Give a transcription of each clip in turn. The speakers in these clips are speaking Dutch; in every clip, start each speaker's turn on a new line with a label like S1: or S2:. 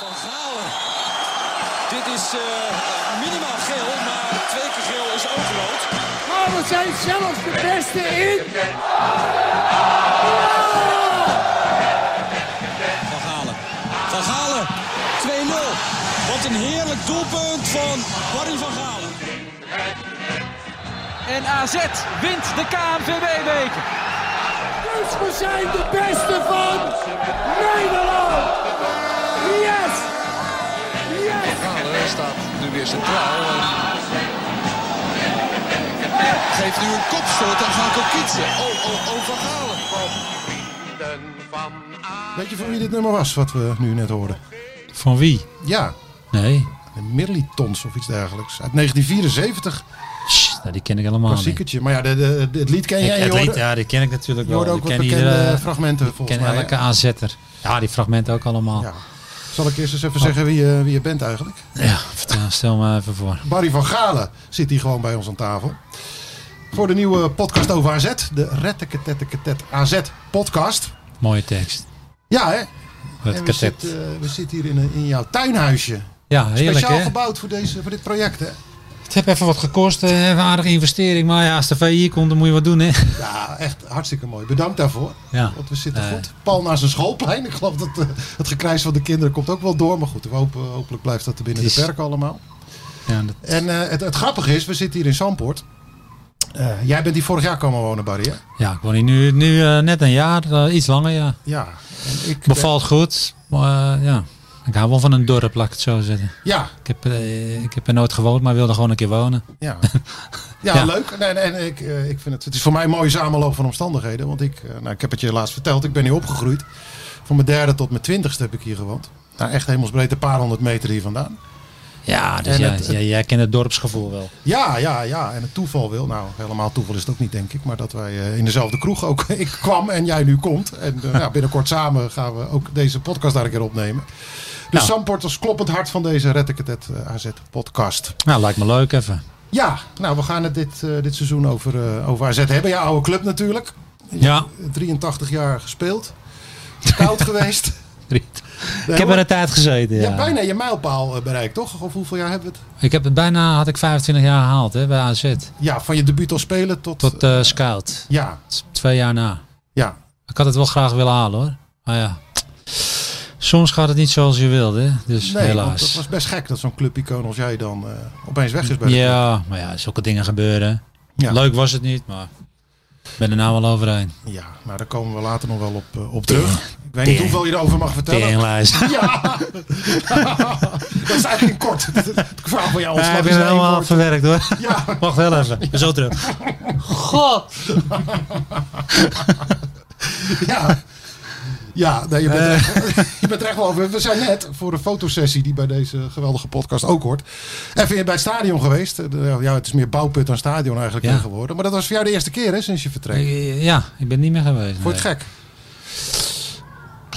S1: Van Galen. Dit is eh, minimaal geel, maar twee keer geel is ook rood.
S2: Maar we zijn zelfs de beste in.
S1: Van Galen. Van Galen. 2-0. Wat een heerlijk doelpunt van Barry van Galen.
S3: En AZ wint de KNVB-beker.
S2: Dus we zijn de beste van Nederland. Yes! Yes!
S4: Galen staat nu weer centraal. En geeft nu een kopstoot aan Van Kokitsen. Oh, oh, oh, Van Galen.
S5: Weet je van wie dit nummer was, wat we nu net hoorden?
S6: Van wie?
S5: Ja,
S6: Nee.
S5: de Millitons of iets dergelijks. Uit
S6: Oh,
S5: 1974,
S6: Sst, nou, die ken ik helemaal niet.
S5: klassiekertje. Maar ja, de, de, de- het lied ken
S6: Ik-
S5: jij,
S6: het
S5: je
S6: lied-
S5: hoorde,
S6: ja, die ken ik natuurlijk
S5: je
S6: wel. Die
S5: hoorde ook wat
S6: ken
S5: bekende
S6: iedere-
S5: fragmenten
S6: Ik
S5: volgens
S6: ken
S5: mij.
S6: elke aanzetter. Ja, die fragmenten ook allemaal.
S5: Ja.
S6: Ja,
S5: Zal ik eerst eens even zeggen wie, je- wie je bent eigenlijk?
S6: vertel, stel me even voor.
S5: Barry van Galen zit hier gewoon bij ons aan tafel. Voor de nieuwe podcast over AZ. De Retteketetteketet AZ podcast.
S6: Mooie tekst.
S5: Ja hè?
S6: Het
S5: En we,
S6: katet.
S5: zitten, eh, we zitten hier in, een- in jouw tuinhuisje.
S6: ja, heerlijk
S5: Speciaal
S6: hè.
S5: gebouwd voor, deze, voor dit project hè?
S6: Het heeft even wat gekost, eh, even een aardige investering. Maar ja, als de VI hier komt, dan moet je wat doen hè.
S5: Ja, echt hartstikke mooi. Bedankt daarvoor.
S6: Ja.
S5: Want we zitten
S6: Eh.
S5: goed. Paul naar zijn schoolplein. Ik geloof dat eh, het gekrijs van de kinderen komt ook wel door. Maar goed, we hopen, hopelijk blijft dat er binnen
S6: Het
S5: de
S6: is-
S5: perken allemaal.
S6: Ja, dat-
S5: En eh, het, het grappige is, we zitten hier in Zandpoort. Eh, jij bent hier vorig jaar komen wonen, Barry. Hè?
S6: ja ik woon hier nu, nu eh, net een jaar, eh, iets langer ja.
S5: Ja. En ik,
S6: Bevalt goed. Maar eh, ja, ik hou wel van een dorp, laat ik het zo zeggen.
S5: ja,
S6: Ik heb, eh, ik heb er nooit gewoond, maar wilde gewoon een keer wonen.
S5: Ja, ja,
S6: Ja.
S5: leuk. Nee, nee, nee, ik, eh, ik vind het, het is voor mij een mooie samenloop van omstandigheden. Want ik, eh, nou, ik heb het je laatst verteld, ik ben hier opgegroeid. Van mijn derde tot mijn twintigste heb ik hier gewoond. Nou, echt hemelsbreed een paar honderd meter hier vandaan.
S6: Ja, dus
S5: En
S6: ja,
S5: het-
S6: jij, jij kent het dorpsgevoel wel.
S5: Ja, ja, ja. En het toeval wil, nou helemaal toeval is het ook niet denk ik. Maar dat wij eh, in dezelfde kroeg ook, ik kwam en jij nu komt. En eh, nou, binnenkort samen gaan we ook deze podcast daar een keer opnemen. Dus
S6: Nou.
S5: Samport als kloppend hart van deze Red Ik Het Het, eh, AZ podcast.
S6: Nou, lijkt me leuk even.
S5: Ja, nou we gaan het dit, eh, dit seizoen over, eh, over AZ hebben. Ja, oude club natuurlijk.
S6: Ja.
S5: 83 jaar gespeeld. Koud geweest.
S6: Ik heb er een tijd gezeten.
S5: Je
S6: Ja.
S5: hebt bijna je mijlpaal eh, bereikt, toch? Of hoeveel jaar hebben we het?
S6: Ik heb het bijna had ik 25 jaar gehaald hè, bij AZ.
S5: Ja, van je debuut als speler tot...
S6: Tot eh, scout.
S5: ja,
S6: Dat is Twee jaar na.
S5: ja.
S6: Ik had het wel graag willen halen hoor. Maar ja. Soms gaat het niet zoals je wilde. hè. Dus
S5: Nee, want dat
S6: helaas.
S5: was best gek dat zo'n clubicoon als jij dan eh, opeens weg is bij de club.
S6: Ja, maar ja, zulke dingen gebeuren.
S5: Ja.
S6: Leuk was het niet, maar ik ben er nou wel overheen.
S5: Ja, nou daar komen we later nog wel op, eh, op terug. Ik weet niet hoeveel je erover mag vertellen.
S6: Teringlijst.
S5: Ja, dat is eigenlijk in kort. Ik vraag van jou
S6: Ja,
S5: ontslag
S6: ik
S5: is
S6: ben
S5: één
S6: helemaal
S5: woord.
S6: verwerkt hoor.
S5: Ja,
S6: Wacht wel even. Ik ben Zo terug. God.
S5: Ja, ja nee,
S6: Eh.
S5: je, bent er echt, je bent er echt wel over. We zijn net voor een fotosessie die bij deze geweldige podcast ook hoort. Even bij het stadion geweest. Eh, de- Ja, het is meer bouwput dan stadion eigenlijk
S6: Ja.
S5: tegenwoordig. Maar dat was voor jou de eerste keer hè, sinds je vertrek. Vond
S6: Ja, ik ben niet meer geweest.
S5: je
S6: nee.
S5: het gek?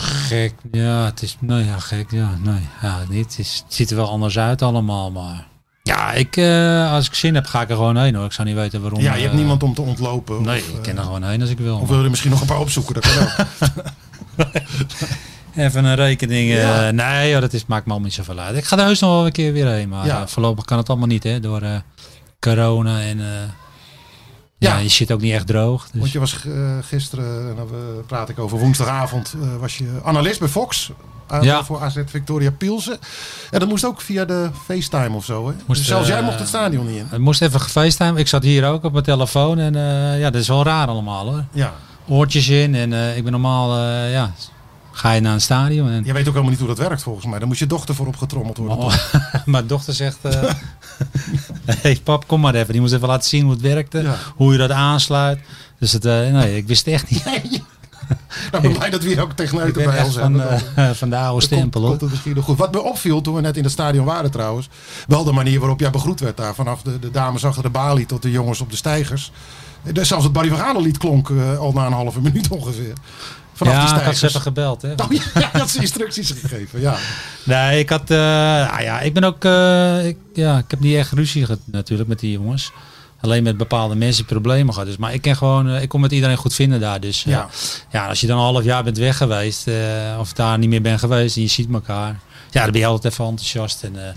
S6: Gek, ja, het is, nou ja, gek, ja, nee, ja, niet. Het, is- het ziet er wel anders uit allemaal, maar ja, ik, eh, als ik zin heb, ga ik er gewoon heen hoor. Ik zou niet weten waarom.
S5: Ja, je hebt
S6: eh,
S5: niemand om te ontlopen.
S6: Nee,
S5: of,
S6: ik
S5: eh,
S6: kan er gewoon heen als ik wil.
S5: of wil je er misschien nog een paar opzoeken? Dat kan ook.
S6: maar. Even een rekening. eh,
S5: Ja.
S6: nee, joh, dat is, maakt me al niet zoveel uit. Ik ga er heus nog wel een keer weer heen, maar
S5: Ja.
S6: eh, voorlopig kan het allemaal niet, hè, door eh, corona en eh,
S5: Ja.
S6: ja. je zit ook niet echt droog. Dus.
S5: Want je was eh, gisteren, en dan eh, praat ik over woensdagavond, eh, was je analist bij Fox. eh,
S6: Ja.
S5: Voor AZ Victoria Pielsen. En dat moest ook via de FaceTime of zo. Hè?
S6: Moest,
S5: dus zelfs jij
S6: eh,
S5: mocht het stadion niet in.
S6: Het moest even gefeestimd. Ik zat hier ook op mijn telefoon en eh, ja, dat is wel raar allemaal hoor.
S5: Ja.
S6: oortjes in. En eh, ik ben normaal, eh, ja, ga je naar een stadion. En
S5: Jij weet ook helemaal niet hoe dat werkt volgens mij. Daar moet je dochter voor opgetrommeld worden.
S6: Oh, mijn dochter zegt, eh hey, pap, kom maar even. Die moest even laten zien hoe het werkte,
S5: Ja.
S6: hoe je dat aansluit. Dus het, eh, nee, ik wist echt niet.
S5: Nou, ben blij dat we hier ook
S6: ik
S5: techneuten
S6: ben
S5: bij
S6: echt
S5: ons
S6: van,
S5: hebben. Dan-
S6: eh, van de oude
S5: dan
S6: stempel.
S5: komt-
S6: hoor.
S5: komt het misschien nog goed. Wat me opviel toen we net in het stadion waren trouwens. Wel de manier waarop jij begroet werd daar. Vanaf de, de dames achter de balie tot de jongens op de stijgers. Eh, dus Zelfs het Barry van Galen lied klonk eh, al na een halve minuut ongeveer. Vanaf
S6: ja,
S5: de
S6: ik had
S5: stijgers.
S6: ze even gebeld. Hè.
S5: Oh, ja, dat ze instructies gegeven. Ja.
S6: Nee, ik ah had, eh, nou ja, ik ben ook, eh, ik, ja, ik heb niet echt ruzie gehad natuurlijk met die jongens. alleen met bepaalde mensen problemen gehad. Dus, maar ik, ken gewoon, eh, ik kon met iedereen goed vinden daar. Dus eh,
S5: Ja.
S6: ja, als je dan een half jaar bent weg geweest eh, of daar niet meer bent geweest en je ziet elkaar. Ja, dan ben je altijd even enthousiast. En, eh,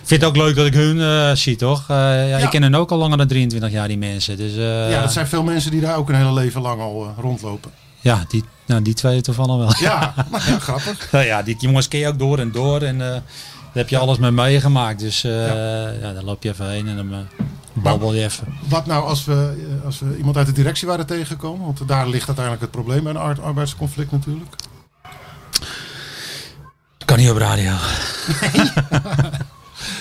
S6: ik vind het ook leuk dat ik hun eh, zie, toch? Eh, ja,
S5: Ja.
S6: Ik ken hen ook al langer dan 23 jaar, die mensen. Dus, eh,
S5: ja, dat zijn veel mensen die daar ook een hele leven lang al eh, rondlopen.
S6: ja, die, nou, die twee toevallig wel.
S5: Ja, nou ja, grappig.
S6: Nou ja, die jongens ken je ook door en door. En eh, daar heb je alles mee meegemaakt. Dus eh, ja. dan loop je even heen en dan eh, babbel je even.
S5: Wat nou als we, eh, als we iemand uit de directie waren tegengekomen? Want daar ligt uiteindelijk het probleem bij een ar- arbeidsconflict natuurlijk.
S6: Kan niet op radio.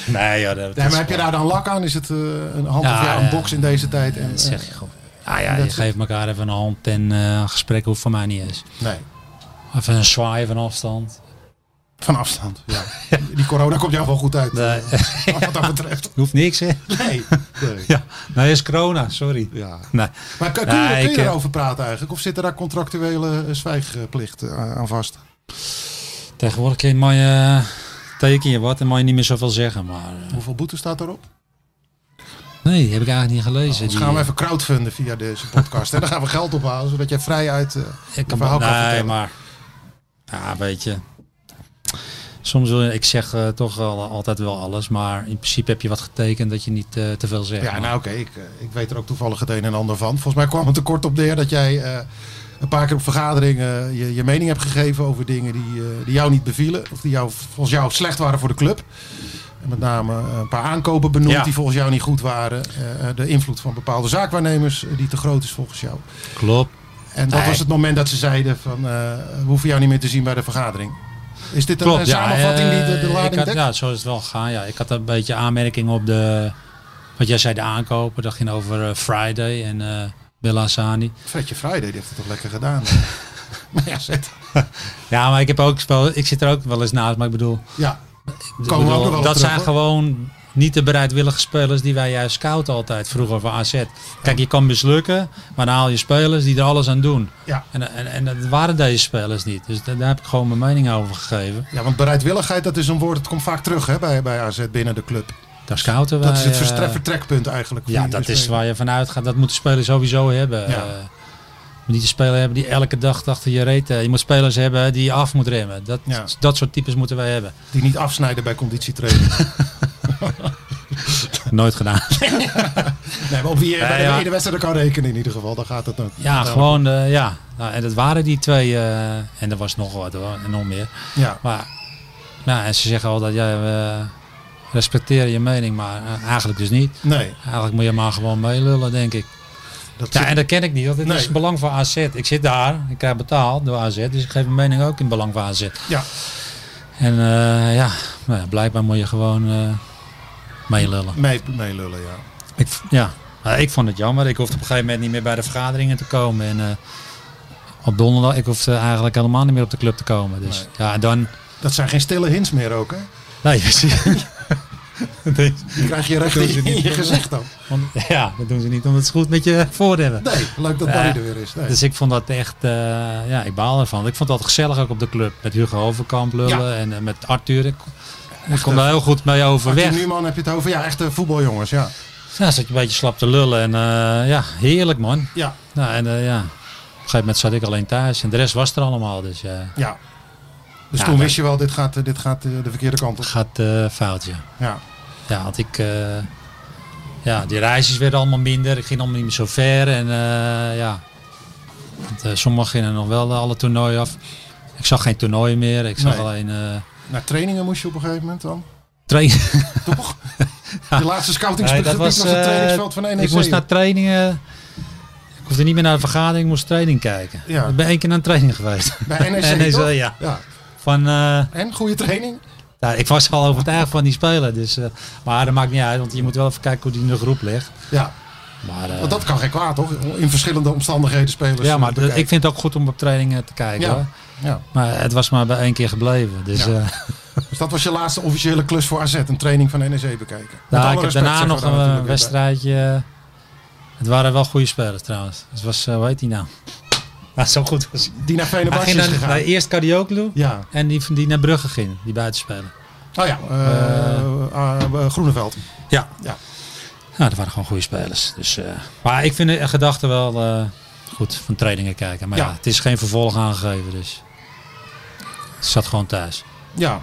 S6: Nee, ja, dat,
S5: Ja, maar heb je daar dan lak aan? Is het eh, een half
S6: Ja,
S5: jaar
S6: ja.
S5: een box in deze tijd? En, eh,
S6: Dat zeg je gewoon. Ah ja,
S5: Dat
S6: je
S5: is-
S6: geeft elkaar even een hand en eh, een gesprek hoeft van mij niet eens.
S5: eh, nee,
S6: Even een zwaai van afstand.
S5: van afstand. Ja. Die corona komt jou wel goed uit.
S6: Nee.
S5: eh, Wat dat betreft.
S6: Hoeft niks, hè?
S5: Nee. nee.
S6: Ja. Nee, is corona, sorry.
S5: Ja.
S6: Nee.
S5: Maar kun, kun
S6: Nou,
S5: je, kun je
S6: ik, eh,
S5: daarover praten eigenlijk? Of zit er daar contractuele eh, zwijgplicht eh, aan vast?
S6: Tegenwoordig kun je, mag je, teken je wat en mag je niet meer zoveel zeggen. Maar eh,
S5: Hoeveel boete staat daarop?
S6: nee, die heb ik eigenlijk niet gelezen.
S5: Dus
S6: Die,
S5: gaan we even crowdfunden via deze podcast. en dan gaan we geld ophalen, zodat jij vrij uit eh,
S6: Ik
S5: je
S6: kan
S5: verhaal kan
S6: nee,
S5: vertellen.
S6: maar. Ja, weet je. Soms wil je, ik zeg eh, toch wel altijd wel alles, maar in principe heb je wat getekend dat je niet eh, te veel zegt.
S5: Ja,
S6: Maar-
S5: nou oké, ik, eh, ik weet er ook toevallig het een en ander van. Volgens mij kwam het tekort op neer dat jij eh, een paar keer op vergaderingen je, je mening hebt gegeven over dingen die, eh, die jou niet bevielen. Of die jou, volgens jou slecht waren voor de club. En met name eh, een paar aankopen benoemd
S6: Ja.
S5: die volgens jou niet goed waren. Eh, eh, de invloed van bepaalde zaakwaarnemers eh, die te groot is volgens jou.
S6: Klopt.
S5: En dat
S6: Nee.
S5: was het moment dat ze zeiden van eh, we hoeven jou niet meer te zien bij de vergadering. Is dit een
S6: Klopt,
S5: eh,
S6: ja,
S5: samenvatting die de, de
S6: eh,
S5: lading
S6: ik had,
S5: dekt?
S6: Ja, zo is het wel gegaan. Ja. Ik had een beetje aanmerkingen op de. Wat jij zei, de aankopen. Dat ging over eh, Friday en eh Bella Sani.
S5: Fredje Friday die heeft het toch lekker gedaan. maar ja, zet.
S6: Ja, maar ik, heb ook, wel- ik zit er ook wel eens naast, maar ik bedoel.
S5: Ja,
S6: Ik
S5: Komen
S6: bedoel,
S5: we ook nog wel op
S6: dat
S5: terug,
S6: zijn
S5: hoor.
S6: gewoon niet de bereidwillige spelers die wij juist scouten altijd vroeger voor AZ. Kijk, je kan mislukken, maar dan haal je spelers die er alles aan doen.
S5: ja.
S6: En, en, en dat waren deze spelers niet. Dus daar, daar heb ik gewoon mijn mening over gegeven.
S5: Ja, want bereidwilligheid, dat is een woord dat komt vaak terug hè, bij, bij AZ binnen de club.
S6: Daar scouten we.
S5: Dat is het verstre- vertrekpunt eigenlijk. voor
S6: eh, Ja,
S5: iedere
S6: dat is
S5: speler.
S6: waar je vanuit gaat. Dat moeten spelers sowieso hebben.
S5: Ja.
S6: Eh, je moet niet de speler hebben die elke dag achter je reet. eh, Je moet spelers hebben die je af moet remmen. Dat,
S5: Ja.
S6: dat soort types moeten wij hebben.
S5: Die niet afsnijden bij conditietraining.
S6: Nooit gedaan.
S5: nee, maar op wie je bij
S6: Nee,
S5: de
S6: ja.
S5: ene wedstrijd kan rekenen in ieder geval. Dan gaat het dan.
S6: Ja,
S5: dan-
S6: gewoon, eh, ja. Nou, en dat waren die twee. eh, en er was nog wat hoor, en nog meer.
S5: Ja,
S6: Maar, nou, en ze zeggen altijd, ja, we respecteren je mening, maar eh, eigenlijk dus niet.
S5: nee.
S6: Eigenlijk moet je maar gewoon meelullen, denk ik.
S5: Dat
S6: Ja,
S5: zit-
S6: en dat ken ik niet, want het
S5: Nee.
S6: is belang van AZ. Ik zit daar, ik krijg betaald door AZ, dus ik geef mijn mening ook in belang van AZ.
S5: ja.
S6: En eh, ja, nou ja, blijkbaar moet je gewoon eh, meelullen.
S5: Mee, meelullen, ja.
S6: Ik, v- ja, nou, ik vond het jammer. Ik hoefde op een gegeven moment niet meer bij de vergaderingen te komen. En eh, op donderdag, ik hoefde eigenlijk helemaal niet meer op de club te komen. Dus ja, dan...
S5: Dat zijn geen stille hints meer ook, hè?
S6: Nee, dus- precies. Nee,
S5: Die krijg je recht
S6: Dat doen ze
S5: in, in
S6: niet.
S5: je gezicht dan.
S6: want- ja, dat doen ze niet omdat ze goed met je voor hebben.
S5: Nee, leuk dat
S6: Ja.
S5: Barry er weer is. Nee.
S6: Dus ik vond dat echt, eh, ja, ik baal ervan. Ik vond dat gezellig ook op de club. Met Hugo Overkamp lullen en eh, met Arthur. Ik, ik kon daar heel goed mee
S5: Arthur
S6: overweg.
S5: Newman heb je het over. Ja, echte voetbaljongens, ja.
S6: Ja, zat je een beetje slap te lullen. En eh, ja, heerlijk man.
S5: Ja,
S6: Nou, en eh, ja, op een gegeven moment zat ik alleen thuis. En de rest was er allemaal. Dus eh
S5: ja. Dus
S6: Ja,
S5: toen
S6: dat-
S5: wist je wel, dit gaat, eh, dit gaat eh, de verkeerde kant op.
S6: gaat eh fout, ja.
S5: Ja.
S6: Ja, had ik... eh, ja, die reisjes werden allemaal minder. Ik ging allemaal niet meer zo ver. En eh, ja... Want, eh, sommigen gingen nog wel alle toernooien af. Ik zag geen toernooien meer. Ik zag
S5: Nee.
S6: alleen... eh,
S5: Naar trainingen moest je op een gegeven moment dan?
S6: trainen.
S5: Toch? De laatste scoutingsgebied
S6: Nee, dat
S5: was,
S6: was,
S5: het
S6: eh,
S5: trainingsveld van E NEC.
S6: ik moest naar trainingen. Ik hoefde niet meer naar de vergadering, ik moest training kijken.
S5: Ja.
S6: Ik ben één keer naar een training geweest.
S5: Bij NEC,
S6: NEC,
S5: toch?
S6: ja. Van, eh,
S5: En goede training?
S6: nou, ik was al overtuigd van die speler. Dus, eh, maar dat maakt niet uit, want je moet wel even kijken hoe die in de groep ligt.
S5: Ja,
S6: Maar, eh,
S5: want dat kan geen kwaad, toch? In verschillende omstandigheden spelers.
S6: ja,
S5: eh,
S6: maar dat-
S5: bekijken.
S6: ik vind het ook goed om op trainingen te kijken.
S5: Ja.
S6: Hoor.
S5: Ja.
S6: Maar het was maar bij één keer gebleven. Dus,
S5: Ja.
S6: eh,
S5: Dus dat was je laatste officiële klus voor AZ, een training van NEC bekijken. Met
S6: nou,
S5: alle
S6: ik heb
S5: respect
S6: daarna
S5: zeggen
S6: nog
S5: we daar
S6: een eh,
S5: natuurlijk weer bij.
S6: wedstrijdje. Het waren wel goede spelers trouwens. Het was, eh, hoe heet die nou? Nou, zo goed was hij.
S5: Die naar
S6: Hij
S5: Fenerbahce
S6: ging
S5: is
S6: naar,
S5: gegaan.
S6: naar eerst Karaoklu
S5: Ja, Oh
S6: en die, die naar Brugge ging, die buitenspeler.
S5: nou ja, eh, eh, eh, Groeneveld.
S6: Ja.
S5: Ja.
S7: Ja, dat waren gewoon goede spelers. Dus, eh, maar ik vind de gedachte wel eh, goed van trainingen kijken. Maar ja.
S5: Ja.
S7: het is geen vervolg aangegeven. Dus het zat gewoon thuis.
S5: Ja,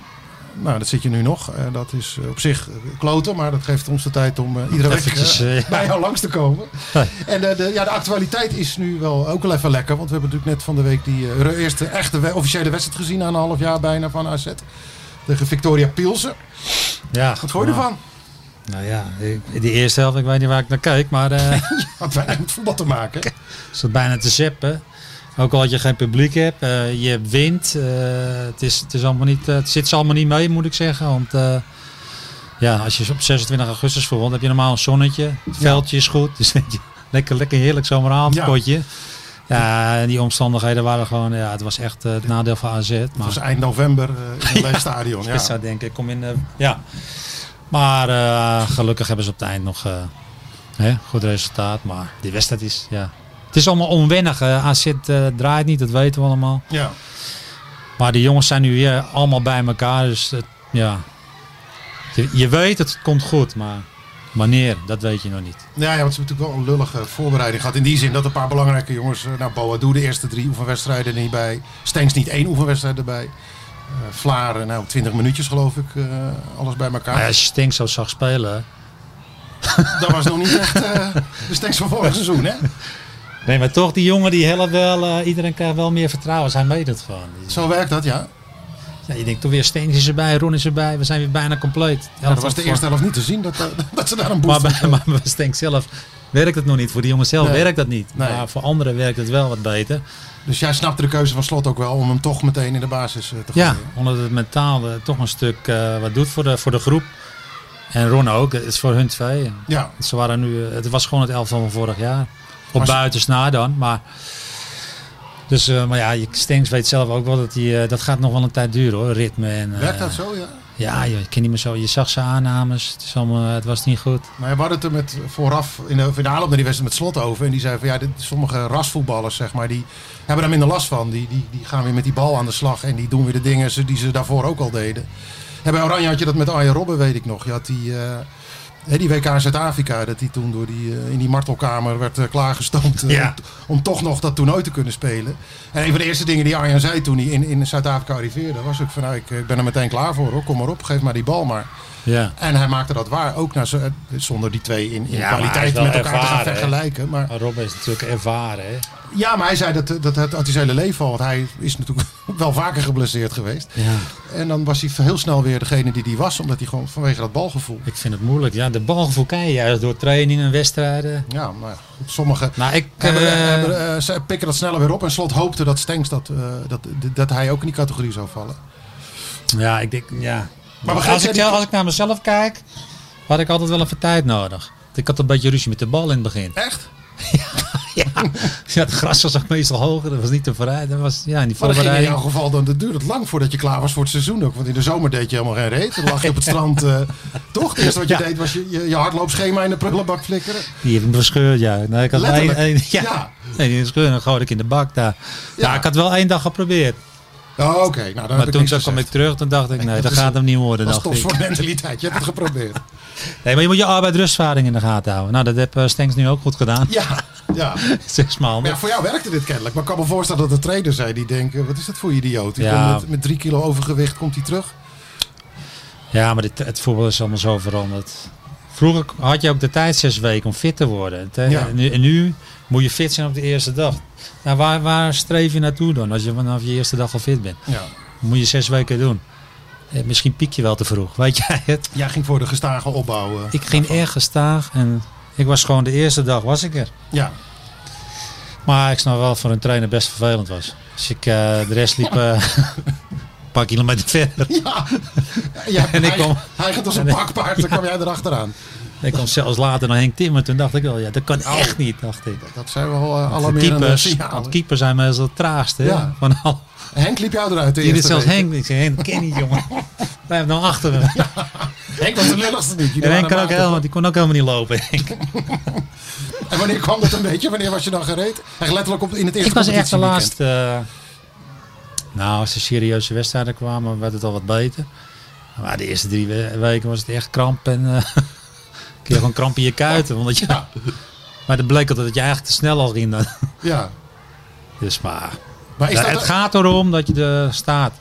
S5: nou dat zit je nu nog. Eh, dat is eh, op zich eh, kloten, maar dat geeft ons de tijd om eh, iedere week
S7: Eventjes,
S5: eh,
S7: eh, ja.
S5: bij jou langs te komen.
S7: Hey.
S5: En eh, de, ja, de actualiteit is nu wel ook wel even lekker. Want we hebben natuurlijk net van de week die eh, euro- eerste echte we- officiële wedstrijd gezien. Na een half jaar bijna van AZ. Tegen Victoria Pilsen.
S7: Ja,
S5: Wat gooi je
S7: nou,
S5: ervan?
S7: Nou ja, die, die eerste helft, ik weet niet waar ik naar kijk. Maar eh,
S5: Had weinig met voetbal te maken.
S7: is dat bijna te zeppen. Ook al dat je geen publiek hebt, eh, je wint. eh, het, is, het, is allemaal niet, eh, het zit ze allemaal niet mee, moet ik zeggen. Want eh, ja, als je op 26 augustus verwond, heb je normaal een zonnetje. Het veldje is goed. Dus denk je, lekker, lekker heerlijk zomeravondpotje. Ja. en die omstandigheden waren gewoon, ja, het was echt eh, het nadeel van AZ.
S5: Het
S7: Maar
S5: was eind november eh, in een leeg stadion.
S7: ik
S5: Ja.
S7: zou denken, ik kom in, eh, ja. Maar eh, gelukkig hebben ze op het eind nog eh, hè, goed resultaat. Maar die wedstrijd is, ja. Het is allemaal onwennig. eh, AZ eh, draait niet, dat weten we allemaal.
S5: ja.
S7: Maar die jongens zijn nu weer allemaal bij elkaar. Dus het- ja. Je, je weet het komt goed, maar wanneer, dat weet je nog niet.
S5: Ja, ja, want ze hebben natuurlijk wel een lullige voorbereiding gehad. In die zin dat een paar belangrijke jongens... eh, Nou, Boadu de eerste drie oefenwedstrijden er niet bij. Stengs niet één oefenwedstrijd erbij. Eh, Vlaar, eh, nou, twintig minuutjes geloof ik. eh, alles bij elkaar.
S7: Maar als je Stink zo zag spelen.
S5: Dat was nog niet echt eh, de Stengs van vorig seizoen, hè?
S7: Nee, maar toch, die jongen die helpt wel. eh, iedereen krijgt wel meer vertrouwen. Zij meedoet het gewoon. Die-
S5: Zo werkt dat, ja.
S7: Ja, je denkt toch weer Steens is erbij, Ron is erbij. We zijn weer bijna compleet.
S5: Ja, dat was de eerste helft niet te zien dat, eh, dat ze daar een
S7: Maar
S5: boost
S7: bij, maar bij Stenk zelf werkt het nog niet. Voor die jongens zelf
S5: Nee.
S7: werkt dat niet.
S5: Nee.
S7: Maar voor anderen werkt het wel wat beter.
S5: Dus jij snapte de keuze van Slot ook wel om hem toch meteen in de basis eh, te gooien.
S7: Ja, omdat het mentaal eh, toch een stuk eh, wat doet voor de, voor de groep. En Ron ook. Het is voor hun twee.
S5: Ja,
S7: Ze waren nu, eh, het was gewoon het elftal van vorig jaar. Op
S5: Maar ze-
S7: buitens na dan. Maar, dus, eh, maar ja, je- Stenks weet zelf ook wel dat die, eh, dat gaat nog wel een tijd duren hoor. Ritme en... eh,
S5: werkt dat zo, ja?
S7: Ja, je, kan niet meer zo. Je zag ze aannames. Het, is allemaal, eh, het was niet goed.
S5: Maar we hadden het er met, vooraf in de finale op naar die wedstrijd met slot over. En die zei van ja, dit, sommige rasvoetballers, zeg maar, die hebben daar minder last van. Die, die, die gaan weer met die bal aan de slag en die doen weer de dingen ze- die ze daarvoor ook al deden. En bij Oranje had je dat met Arjen Robben, weet ik nog. Je had die, eh, hè, die WK in Zuid-Afrika, dat die toen door die, eh, in die martelkamer werd eh, klaargestoomd. eh,
S7: Ja.
S5: om, om toch nog dat toernooi te kunnen spelen. En een van de eerste dingen die Arjen zei toen hij in, in Zuid-Afrika arriveerde, was ook van nou, ik, ik ben er meteen klaar voor hoor. Kom maar op, geef maar die bal maar.
S7: Ja.
S5: En hij maakte dat waar, ook naar zo- eh, zonder die twee in, in
S7: Ja, maar hij is
S5: kwaliteit
S7: wel
S5: met elkaar te gaan
S7: ervaren, hè?
S5: vergelijken. Maar,
S7: Robben is natuurlijk ervaren. Hè?
S5: ja, maar hij zei dat, eh, dat, dat had hij zijn hele leven al, want hij is natuurlijk wel vaker geblesseerd geweest.
S7: Ja.
S5: En dan was hij heel snel weer degene die die was, omdat hij gewoon vanwege dat balgevoel.
S7: Ik vind het moeilijk. Ja, de balgevoel kan je juist door trainingen en wedstrijden.
S5: Ja, maar ja, goed, sommigen
S7: Nou, ik,
S5: hebben,
S7: eh,
S5: hebben, eh, ze pikken dat sneller weer op. En Slot hoopte dat Stenks dat, eh, dat, dat hij ook in die categorie zou vallen.
S7: ja, ik denk, ja.
S5: Maar begrijp
S7: als,
S5: jij
S7: ik,
S5: die-
S7: als ik naar mezelf kijk, had ik altijd wel even tijd nodig. Ik had een beetje ruzie met de bal in het begin.
S5: Echt?
S7: Ja, ja het gras was ook meestal hoger. Dat was niet te vooruit. Dat was, ja, in die
S5: Maar Oh, dat ging in jouw
S7: voorbereiding.
S5: geval, dan dat duurde het lang voordat je klaar was voor het seizoen ook. Want in de zomer deed je helemaal geen reet. Dan lag je op het strand. eh, toch? Het eerste wat je
S7: Ja.
S5: deed was je, je, je hardloopschema in de prullenbak flikkeren.
S7: Die heeft hem verscheurd, ja. Nee, ik had één,
S5: Letterlijk.
S7: één- ja.
S5: Ja.
S7: Nee, die verscheurde en dan gooi ik in de bak daar. Ja,
S5: Ja.
S7: ik had wel één dag geprobeerd.
S5: Oh, oké. Nou, dan heb
S7: Maar
S5: ik
S7: toen
S5: niks
S7: toen kwam ik
S5: gezegd. dus
S7: terug, toen dacht ik, nee, dat
S5: is-
S7: gaat hem niet worden.
S5: Dat is
S7: dacht ik.
S5: topsportmentaliteit. Je hebt het geprobeerd.
S7: Nee, maar je moet je arbeid-rustvaring in de gaten houden. Nou, dat heb eh, Stenks nu ook goed gedaan.
S5: Ja, ja.
S7: Zes
S5: Maar
S7: maanden.
S5: ja, voor jou werkte dit kennelijk. Maar ik kan me voorstellen dat er trainers zijn die denken... Wat is dat voor idioot? Die
S7: Ja.
S5: komt met, met drie kilo overgewicht komt hij terug.
S7: Ja, maar dit, het voetbal is allemaal zo veranderd. Vroeger had je ook de tijd zes weken om fit te worden. Het, eh,
S5: Ja.
S7: En, nu, en nu moet je fit zijn op de eerste dag. Nou, waar, waar streef je naartoe dan als je vanaf je eerste dag al fit bent?
S5: Ja.
S7: Moet je zes weken doen. Eh, misschien piek je wel te vroeg, weet jij het?
S5: Jij ging voor de gestage opbouw. eh.
S7: Ik ging erg gestaag en ik was gewoon de eerste dag was ik er.
S5: Ja.
S7: Maar ik snap wel dat voor een trainer best vervelend was. Dus ik, eh, de rest liep eh, een paar kilometer verder.
S5: ja. ja
S7: En ik
S5: hij-
S7: kom-
S5: Hij gaat als een bakpaard. Dan kwam jij erachteraan.
S7: Ik kwam zelfs later naar Henk Timmer. Toen dacht ik wel, ja, dat kan echt niet, dacht ik.
S5: Dat zijn wel eh,
S7: De
S5: alarmerende
S7: keepers, want
S5: signalen.
S7: keepers zijn meestal het traagste. hè,
S5: Ja.
S7: Van al.
S5: Henk liep jou eruit. de
S7: Hier is
S5: eerste
S7: zelfs
S5: week.
S7: Henk. Ik zeg, Henk, dat ken niet, jongen. Blijf nou achter hem.
S5: Henk was de lulligste niet. Jullie
S7: en Henk
S5: waren
S7: kan ook
S5: maten.
S7: helemaal, die kon ook helemaal niet lopen. Henk.
S5: En wanneer kwam dat een beetje? Wanneer was je dan gereed? Echt letterlijk op, in het eerste
S7: Ik was echt de
S5: competitieweekend.
S7: laatste. eh, nou, als de serieuze wedstrijden kwamen, werd het al wat beter. Maar de eerste drie we- weken was het echt kramp en eh, kreeg je gewoon kramp in je kuiten. Omdat je, Maar het bleek altijd dat je eigenlijk te snel al ging. dan.
S5: Ja.
S7: Dus maar...
S5: Maar is
S7: Ja,
S5: dat,
S7: het gaat erom dat je er staat.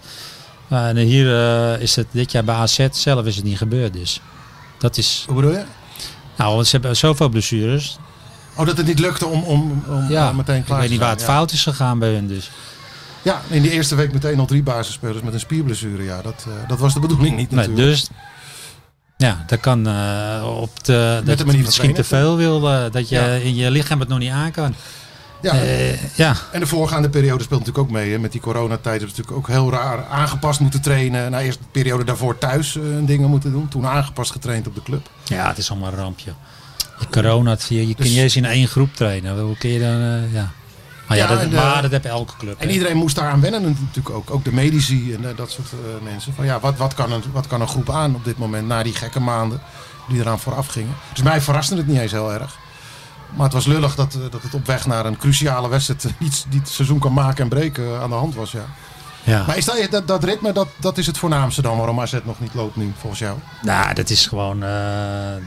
S7: Nou, en hier eh, is het dit jaar bij AZ zelf is het niet gebeurd. Dus dat is.
S5: Hoe bedoel je?
S7: Nou, want ze hebben zoveel blessures.
S5: Oh, dat het niet lukte om, om, om
S7: Ja,
S5: eh, meteen
S7: ik
S5: klaar
S7: weet
S5: te
S7: niet waar
S5: zijn.
S7: het
S5: Ja.
S7: fout is gegaan bij hun. Dus.
S5: Ja, in die eerste week meteen al drie basisspelers met een spierblessure. Ja, dat, eh, dat was de bedoeling niet
S7: Nee,
S5: natuurlijk.
S7: dus. Ja, dat kan eh, op de.
S5: manier
S7: Dat
S5: van
S7: het misschien te
S5: trainen,
S7: veel wil. eh, dat je
S5: Ja.
S7: in je lichaam het nog niet aan kan.
S5: ja,
S7: Eh, ja,
S5: en de voorgaande periode speelt natuurlijk ook mee. Hè. Met die coronatijd hebben ze natuurlijk ook heel raar aangepast moeten trainen. Nou, eerst de periode daarvoor thuis eh, dingen moeten doen. Toen aangepast getraind op de club.
S7: ja, het is allemaal een rampje. Je corona, het- je, je kunt
S5: Dus-
S7: niet eens in één groep trainen. Hoe kun je dan. eh, ja. Maar, ja,
S5: Ja, en
S7: dat,
S5: de-
S7: maar dat heeft elke club.
S5: En
S7: hè.
S5: iedereen moest daaraan wennen natuurlijk ook. Ook de medici en eh, dat soort eh, mensen. Van ja, wat, wat, kan een, wat kan een groep aan op dit moment na die gekke maanden die eraan vooraf gingen. Dus mij verraste het niet eens heel erg. Maar het was lullig dat, eh, dat het op weg naar een cruciale wedstrijd eh, iets die het seizoen kan maken en breken eh, aan de hand was. Ja.
S7: ja.
S5: Maar is dat, eh, dat, dat ritme, dat, dat is het voornaamste dan waarom AZ nog niet loopt nu volgens jou?
S7: Nou, dat is gewoon. eh,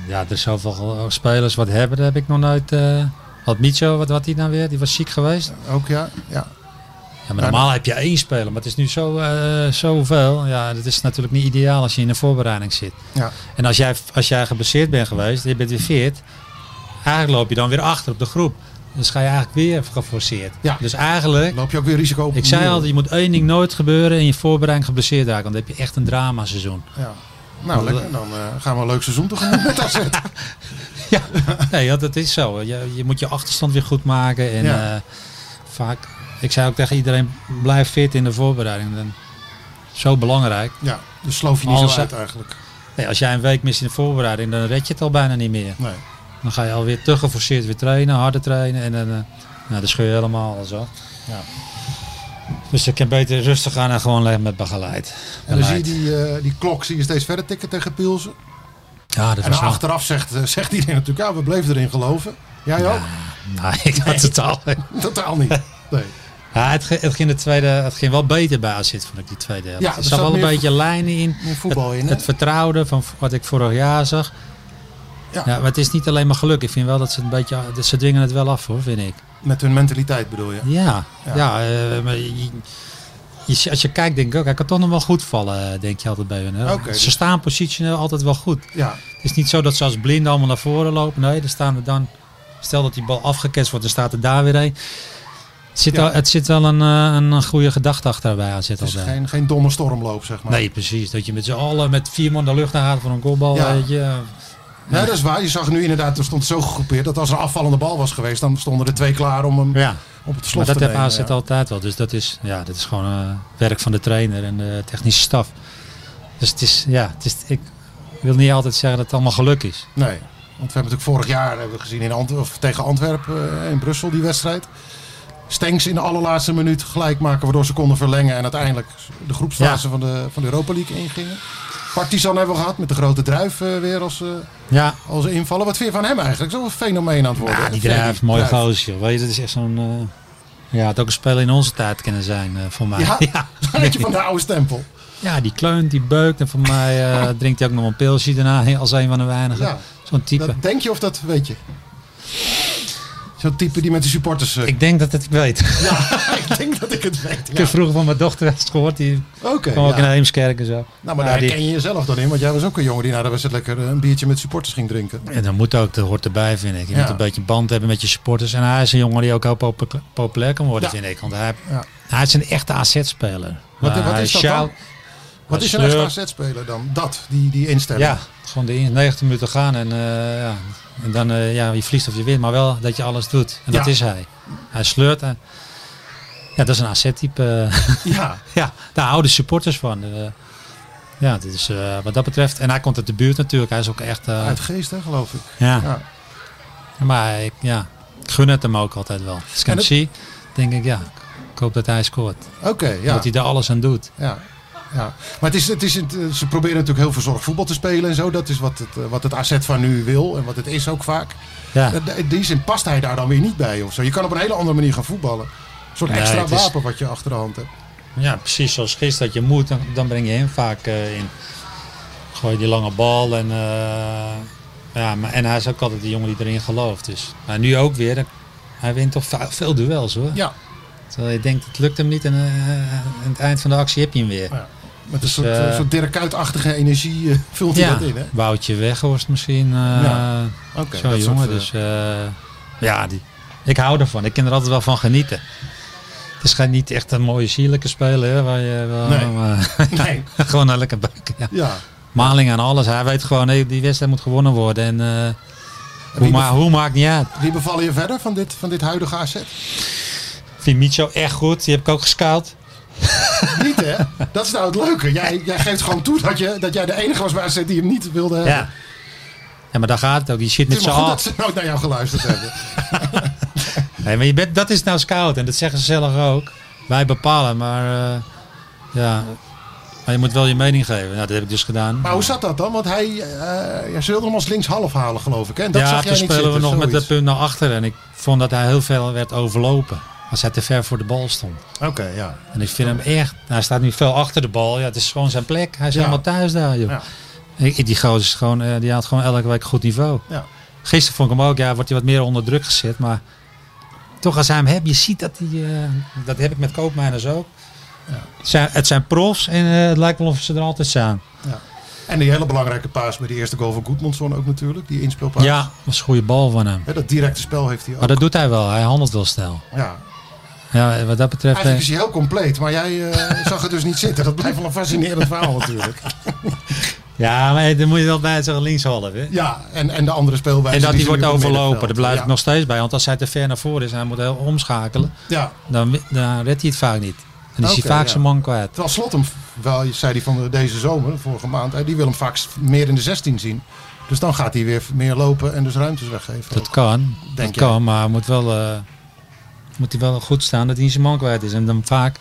S7: ja, er is zoveel spelers wat hebben. Dat heb ik nog nooit. eh had Micho, wat had hij nou weer? Die was ziek geweest.
S5: Ook ja? Ja,
S7: Ja, maar normaal heb je één speler, maar het is nu zo, eh, zoveel. Ja, dat is natuurlijk niet ideaal als je in de voorbereiding zit.
S5: ja.
S7: En als jij, als jij geblesseerd bent geweest, je bent weer fit. Eigenlijk loop je dan weer achter op de groep. Dus ga je eigenlijk weer geforceerd.
S5: Ja.
S7: Dus eigenlijk,
S5: loop je ook weer risico op.
S7: ik zei
S5: nul.
S7: al, je moet één ding nooit gebeuren en je voorbereiding geblesseerd raken. Want dan heb je echt een drama seizoen.
S5: Ja. Nou, lekker. Dan eh, gaan we een leuk seizoen tegemoet met AZ.
S7: Ja, nee, ja, dat is zo. Je, je moet je achterstand weer goed maken. En
S5: Ja.
S7: eh, vaak, ik zei ook tegen iedereen, blijf fit in de voorbereiding. Dan, zo belangrijk.
S5: Ja, dus sloof je niet
S7: Alles-
S5: zo uit eigenlijk.
S7: Nee, als jij een week mist in de voorbereiding, dan red je het al bijna niet meer.
S5: Nee.
S7: Dan ga je alweer te geforceerd weer trainen, harder trainen. En dan, eh, nou, dan scheur je helemaal alles af.
S5: Ja.
S7: Dus je kan beter rustig gaan en gewoon leggen met begeleid.
S5: En dan zie je
S7: Beleid.
S5: die, eh, die klok zie je steeds verder tikken tegen Pielsen.
S7: Ja, dat
S5: En
S7: was
S5: dan
S7: wel...
S5: achteraf zegt, eh, zegt iedereen natuurlijk, ja, we bleven erin geloven. Jij ook?
S7: Nee, ik had het al.
S5: Totaal niet. Nee.
S7: Ja, het, ging- het, ging de tweede, het ging wel beter bij AZ, vond ik, die tweede helft.
S5: Ja,
S7: er
S5: er
S7: zat
S5: zat
S7: wel een
S5: meer
S7: beetje lijnen in.
S5: meer voetbal
S7: het,
S5: in, hè?
S7: Het vertrouwde van v- wat ik vorig jaar zag.
S5: Ja.
S7: Ja. maar het is niet alleen maar geluk. Ik vind wel dat ze het een beetje... dat Ze dwingen het wel af, hoor, vind ik.
S5: Met hun mentaliteit bedoel je?
S7: Ja,
S5: Ja.
S7: ja. eh, maar je, je- als je kijkt, denk ik ook... Hij kan toch nog wel goed vallen, eh, denk je altijd bij hun. Hè?
S5: Oké,
S7: ze
S5: dus-
S7: staan positioneel altijd wel goed.
S5: Ja.
S7: Het is niet zo dat ze als blinden allemaal naar voren lopen. Nee, dan staan we dan. Stel dat die bal afgeketst wordt, dan staat er daar weer een. Het zit,
S5: Ja.
S7: wel- het zit wel een, eh, een, een goede gedachte achter bij AZ
S5: Het is
S7: altijd.
S5: geen, geen domme stormloop, zeg maar.
S7: Nee, precies. Dat je met z'n allen met vier man de lucht naar gaat voor een goalbal.
S5: Ja.
S7: Weet je.
S5: Ja, dat is waar. Je zag nu inderdaad, er stond zo gegroepeerd dat als er een afvallende bal was geweest, dan stonden er twee klaar om hem
S7: ja.
S5: op het slot
S7: Maar dat
S5: te
S7: heeft
S5: nemen.
S7: AZ
S5: ja.
S7: altijd wel. Dus dat is, ja, dat is gewoon eh, werk van de trainer en de technische staf. Dus het is, ja, het is, ik wil niet altijd zeggen dat het allemaal geluk is.
S5: Nee, want we hebben natuurlijk vorig jaar hebben we gezien in Ant of tegen Antwerpen eh, in Brussel die wedstrijd. Stenks in de allerlaatste minuut gelijk maken, waardoor ze konden verlengen en uiteindelijk de groepsfase van, de, van de Europa League ingingen. Partizan hebben we gehad met de grote druif eh, weer als, eh,
S7: Ja,
S5: als invaller. Wat vind je van hem eigenlijk? Zo'n fenomeen aan het worden.
S7: Ja,
S5: hè?
S7: die drijft, mooi
S5: Druif.
S7: gozer. Weet je, dat is echt zo'n... eh, ja, het ook een speler in onze tijd kunnen zijn, eh, voor mij.
S5: Ja,
S7: ja.
S5: een beetje van de oude stempel.
S7: Ja, die kleunt, die beukt. En voor mij eh, drinkt hij ook nog een pilsje daarna als een van de weinigen.
S5: Ja.
S7: Zo'n type.
S5: Dat denk je of dat weet je? Zo'n type die met de supporters... eh,
S7: Ik denk dat het ik weet.
S5: ik denk dat ik het weet.
S7: Ik
S5: Ja.
S7: heb vroeger van mijn dochter wel eens gehoord. Die
S5: Oké,
S7: kwam ook
S5: ja.
S7: in Heemskerk en zo.
S5: Nou, maar
S7: Ja,
S5: daar
S7: die-
S5: herken je jezelf dan in. Want jij was ook een jongen die naar de wedstrijd lekker eh, een biertje met supporters ging drinken.
S7: En dat moet ook, dat hoort erbij, vind ik. Je
S5: Ja.
S7: moet een beetje band hebben met je supporters. En hij is een jongen die ook heel popu- populair kan worden,
S5: Ja.
S7: vind ik. Want hij,
S5: Ja.
S7: hij is een echte AZ-speler.
S5: Wat- wat
S7: Hij
S5: is dat dan?
S7: sjouwt-
S5: Wat
S7: Hij
S5: is een extra
S7: slurpt.
S5: AZ-speler dan? Dat, die, die instelling.
S7: dus, eh, Ja, gewoon de in- 90 minuten gaan en, eh, ja. en dan eh, ja, je verliest of je wint, maar wel dat je alles doet. En dat
S5: Ja.
S7: is hij. Hij sleurt. en- ja, dat is een AZ-type. eh,
S5: Ja.
S7: ja, daar houden supporters van. Eh, ja, dit is eh, wat dat betreft. En hij komt uit de buurt natuurlijk. Hij is ook echt. eh,
S5: Uit Geest, hè, geloof ik.
S7: ja.
S5: Ja.
S7: Maar ik, ja, ik gun het hem ook altijd wel. Als ik hem
S5: En het-
S7: zie, denk ik ja, ik hoop dat hij scoort.
S5: Oké, ja.
S7: Dat hij daar alles aan doet.
S5: ja. ja. Maar het is, het is, het, eh, ze proberen natuurlijk heel verzorgd voetbal te spelen en zo. Dat is wat het, eh, wat het AZ van nu wil en wat het is ook vaak.
S7: Ja.
S5: Eh, In die zin past hij daar dan weer niet bij of zo. Je kan op een hele andere manier gaan voetballen. Een soort
S7: Nee,
S5: extra
S7: het is-
S5: wapen wat je achter de hand hebt.
S7: Ja, precies zoals gisteren dat je moet, dan, dan breng je hem vaak eh, in. Gooi die lange bal en eh, Ja, maar, en hij is ook altijd de jongen die erin gelooft. Dus. Maar nu ook weer. dan- Hij wint toch va- veel duels hoor.
S5: Ja,
S7: Terwijl je denkt, het lukt hem niet. En eh, aan het eind van de actie heb je hem weer.
S5: Ja. met een soort,
S7: eh,
S5: eh, soort Dirk Kuyt-achtige energie eh, vult hij dat in. Hè?
S7: Woutje Weghorst misschien. eh
S5: Ja. Oké,
S7: Zo'n
S5: dat soort,
S7: jongen.
S5: eh,
S7: Dus eh, ja, die, ik hou ervan. Ik kan er altijd wel van genieten. Het is geen- niet echt een mooie sierlijke speler. Hè, waar je wel,
S5: Nee.
S7: maar-
S5: Nee.
S7: gewoon een lekker buik. Ja.
S5: Ja,
S7: Maling aan alles. Hij weet gewoon, hey, die wedstrijd moet gewonnen worden. En eh, hoe,
S5: Wie
S7: ma- hoe maakt niet uit.
S5: wie bevallen je verder van dit, van dit huidige AZ?
S7: Ik vind Micho echt goed. Die heb ik ook gescout.
S5: niet hè? Dat is nou het leuke. Jij, jij geeft gewoon toe dat, je, dat jij de enige was bij AZ die hem niet wilde hebben.
S7: Ja. ja, maar daar gaat het ook. Je zit
S5: Het
S7: met
S5: is
S7: z'n
S5: maar goed
S7: allen.
S5: dat ze nooit naar jou geluisterd hebben.
S7: Nee, maar je bent, dat is nou scout en dat zeggen ze zelf ook. Wij bepalen, maar eh, ja. Maar je moet wel je mening geven. Nou, dat heb ik dus gedaan.
S5: Maar hoe zat dat dan? Want hij, eh, ja, ze wilde hem als linkshalf halen, geloof ik. Hè? En dat
S7: ja,
S5: zag
S7: toen
S5: jij niet
S7: spelen we
S5: zitten,
S7: nog met dat
S5: zoiets.
S7: punt naar achter en ik vond dat hij heel veel werd overlopen. Als hij te ver voor de bal stond.
S5: Oké, ja.
S7: En ik vind hem echt. Hij staat nu veel achter de bal. Ja, het is gewoon zijn plek. Hij is
S5: Ja.
S7: helemaal thuis daar, joh.
S5: Ja.
S7: Ik- Die gozer is gewoon, eh, die had gewoon elke week goed niveau.
S5: Ja.
S7: Gisteren vond ik hem ook, ja, wordt hij wat meer onder druk gezet. Maar toch als hij hem hebt, je ziet dat hij, eh, dat heb ik met koopmijners ook. Het, zijn, het zijn profs en eh, het lijkt wel of ze er altijd zijn.
S5: En die hele belangrijke paas met die eerste goal van Goedmondson ook natuurlijk. Die inspeelpaas.
S7: Ja, dat was een goede bal van hem.
S5: Hè, dat directe spel heeft hij ook.
S7: Maar dat doet hij wel, hij handelt wel snel.
S5: Ja.
S7: Ja, wat dat betreft...
S5: Eigenlijk is
S7: eh,
S5: hij heel compleet, maar jij eh, zag het dus niet zitten. Dat blijft wel een fascinerend verhaal natuurlijk.
S7: ja, maar dan moet je wel bij zeggen linkshalf. hè.
S5: Ja, en, en de andere speelwijze.
S7: En dat
S5: die
S7: hij
S5: ze nu
S7: wordt
S5: op het
S7: overlopen, daar
S5: middenveld.
S7: blijf
S5: ja.
S7: ik nog steeds bij. Want als hij te ver naar voren is en hij moet heel omschakelen,
S5: Ja,
S7: dan, wi- dan redt hij het vaak niet. Dan is
S5: Oké,
S7: hij vaak
S5: ja.
S7: zijn man kwijt.
S5: terwijl Slot hem wel, zei hij van deze zomer, vorige maand, eh, die wil hem vaak meer in de 16 zien. Dus dan gaat hij weer meer lopen en dus ruimtes weggeven.
S7: Dat kan,
S5: Denk
S7: dat
S5: jij?
S7: kan, maar moet wel, eh, moet hij wel goed staan dat hij zijn man kwijt is. En dan vaak,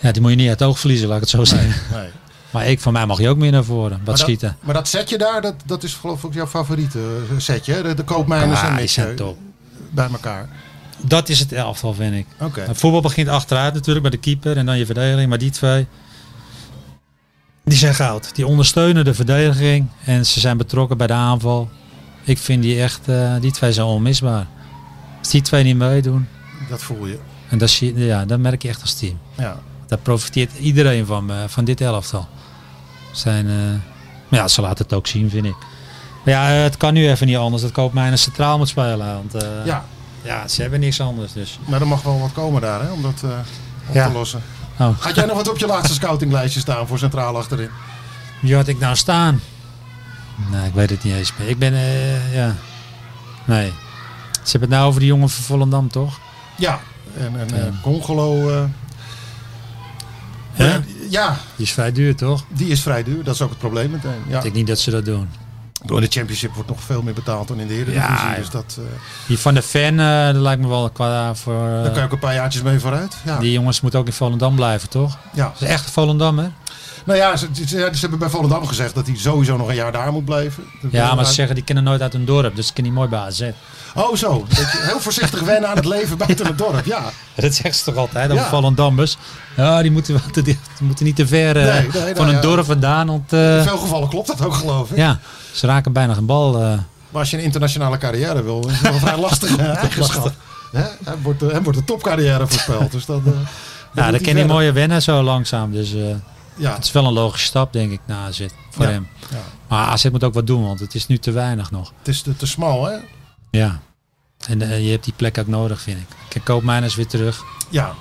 S7: ja, die moet je niet uit het oog verliezen, laat ik het zo zeggen.
S5: Nee.
S7: Maar ik, van mij mag je ook meer naar voren, wat
S5: Maar dat-
S7: schieten.
S5: Maar dat setje daar, dat, dat is geloof ik jouw favoriete eh, setje. hè? De, de koopmijners
S7: Ah,
S5: en
S7: die
S5: Mitch,
S7: zijn
S5: eh,
S7: top.
S5: bij elkaar.
S7: Dat is het elftal, vind ik.
S5: Oké.
S7: Het voetbal begint achteruit natuurlijk, bij de keeper en dan je verdediging. Maar die twee, die zijn goud. Die ondersteunen de verdediging en ze zijn betrokken bij de aanval. Ik vind die echt, eh, die twee zijn onmisbaar. Als die twee niet meedoen,
S5: Dat voel je.
S7: en dat, zie, je- ja, dat merk je echt als team.
S5: Ja.
S7: Daar profiteert iedereen van, eh, van dit elftal. Zijn, eh, maar ja, ze laten het ook zien, vind ik. Maar ja, eh, het kan nu even niet anders dat Koopmeiners centraal moet spelen. Want eh, ja.
S5: ja,
S7: ze hebben niks anders. Dus.
S5: maar er mag wel wat komen daar hè, om dat eh, op
S7: Ja.
S5: te lossen.
S7: Oh,
S5: Had jij nog wat op je laatste scoutinglijstje staan voor centraal achterin?
S7: wie had ik nou staan? Nee, Nou, ik weet het niet eens meer. Ik ben, eh, ja... Nee. Ze hebben het nou over die jongen van Volendam, toch?
S5: Ja, en, en eh, Congolo. eh,
S7: Hè?
S5: eh, ja,
S7: Die is vrij duur, toch?
S5: die is vrij duur. Dat is ook het probleem meteen. Ja.
S7: Ik denk niet dat ze dat doen.
S5: Door de Championship wordt nog veel meer betaald dan in de Eredivisie.
S7: Ja, ja.
S5: dus dat, eh,
S7: Die van de fan, eh, dat lijkt me wel qua voor... eh,
S5: daar kan je ook een paar jaartjes mee vooruit. Ja.
S7: die jongens moeten ook in Volendam blijven, toch?
S5: ja.
S7: Dat is echt Volendam, hè?
S5: Nou ja, ze, ze- ze hebben bij Volendam gezegd dat hij sowieso nog een jaar daar moet blijven. Dat
S7: Ja,
S5: wil
S7: maar ze
S5: maar-
S7: zeggen die kennen nooit uit hun dorp, dus ze kennen niet mooi bij AZ.
S5: Oh zo, dat je heel voorzichtig wennen aan het leven buiten het dorp. Ja,
S7: Dat zeggen ze toch altijd, over
S5: Ja.
S7: Volendammers. Ja, die moeten, wel te dicht- die moeten niet te ver eh,
S5: Nee, nee, nou
S7: van hun
S5: ja.
S7: dorp vandaan, want eh,
S5: in veel gevallen klopt dat ook geloof ik.
S7: ja, ze raken bijna geen bal. eh.
S5: Maar als je een internationale carrière wil, is het wel een vrij lastige eigenschap. Hè? Hem, wordt de, hem wordt de topcarrière voorspeld. Dus dat, eh, dat moet
S7: ja,
S5: hij
S7: daar kennen die
S5: verder.
S7: mooie wennen zo langzaam, dus eh,
S5: Ja,
S7: het is wel een logische stap, denk ik, naar AZ, voor
S5: Ja,
S7: hem.
S5: ja.
S7: Maar AZ moet ook wat doen, want het is nu te weinig nog.
S5: het is te, te smal hè.
S7: Ja, en eh, je hebt die plek ook nodig, vind ik. Kijk, Koopmeiners weer terug.
S5: Ja,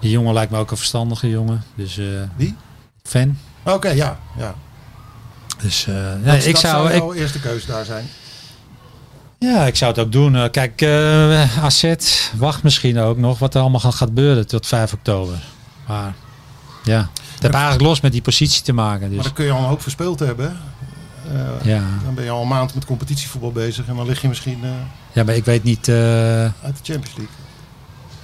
S7: Die jongen lijkt me ook een verstandige jongen, dus... eh,
S5: Wie?
S7: Fan.
S5: oké ja. ja.
S7: Dus eh, nee,
S5: Dat,
S7: ik
S5: dat
S7: zou, ik,
S5: jouw eerste keuze daar zijn.
S7: Ja, ik zou het ook doen. Eh, Kijk, eh AZ wacht misschien ook nog wat er allemaal gaat gebeuren tot 5 oktober. Maar ja, het heeft eigenlijk los met die positie te maken.
S5: Maar
S7: Dus,
S5: dan kun je al een hoop verspeeld hebben. hè. Eh,
S7: ja.
S5: Dan ben je al een maand met competitievoetbal bezig en dan lig je misschien eh,
S7: ja, maar ik weet niet, eh,
S5: uit de Champions League.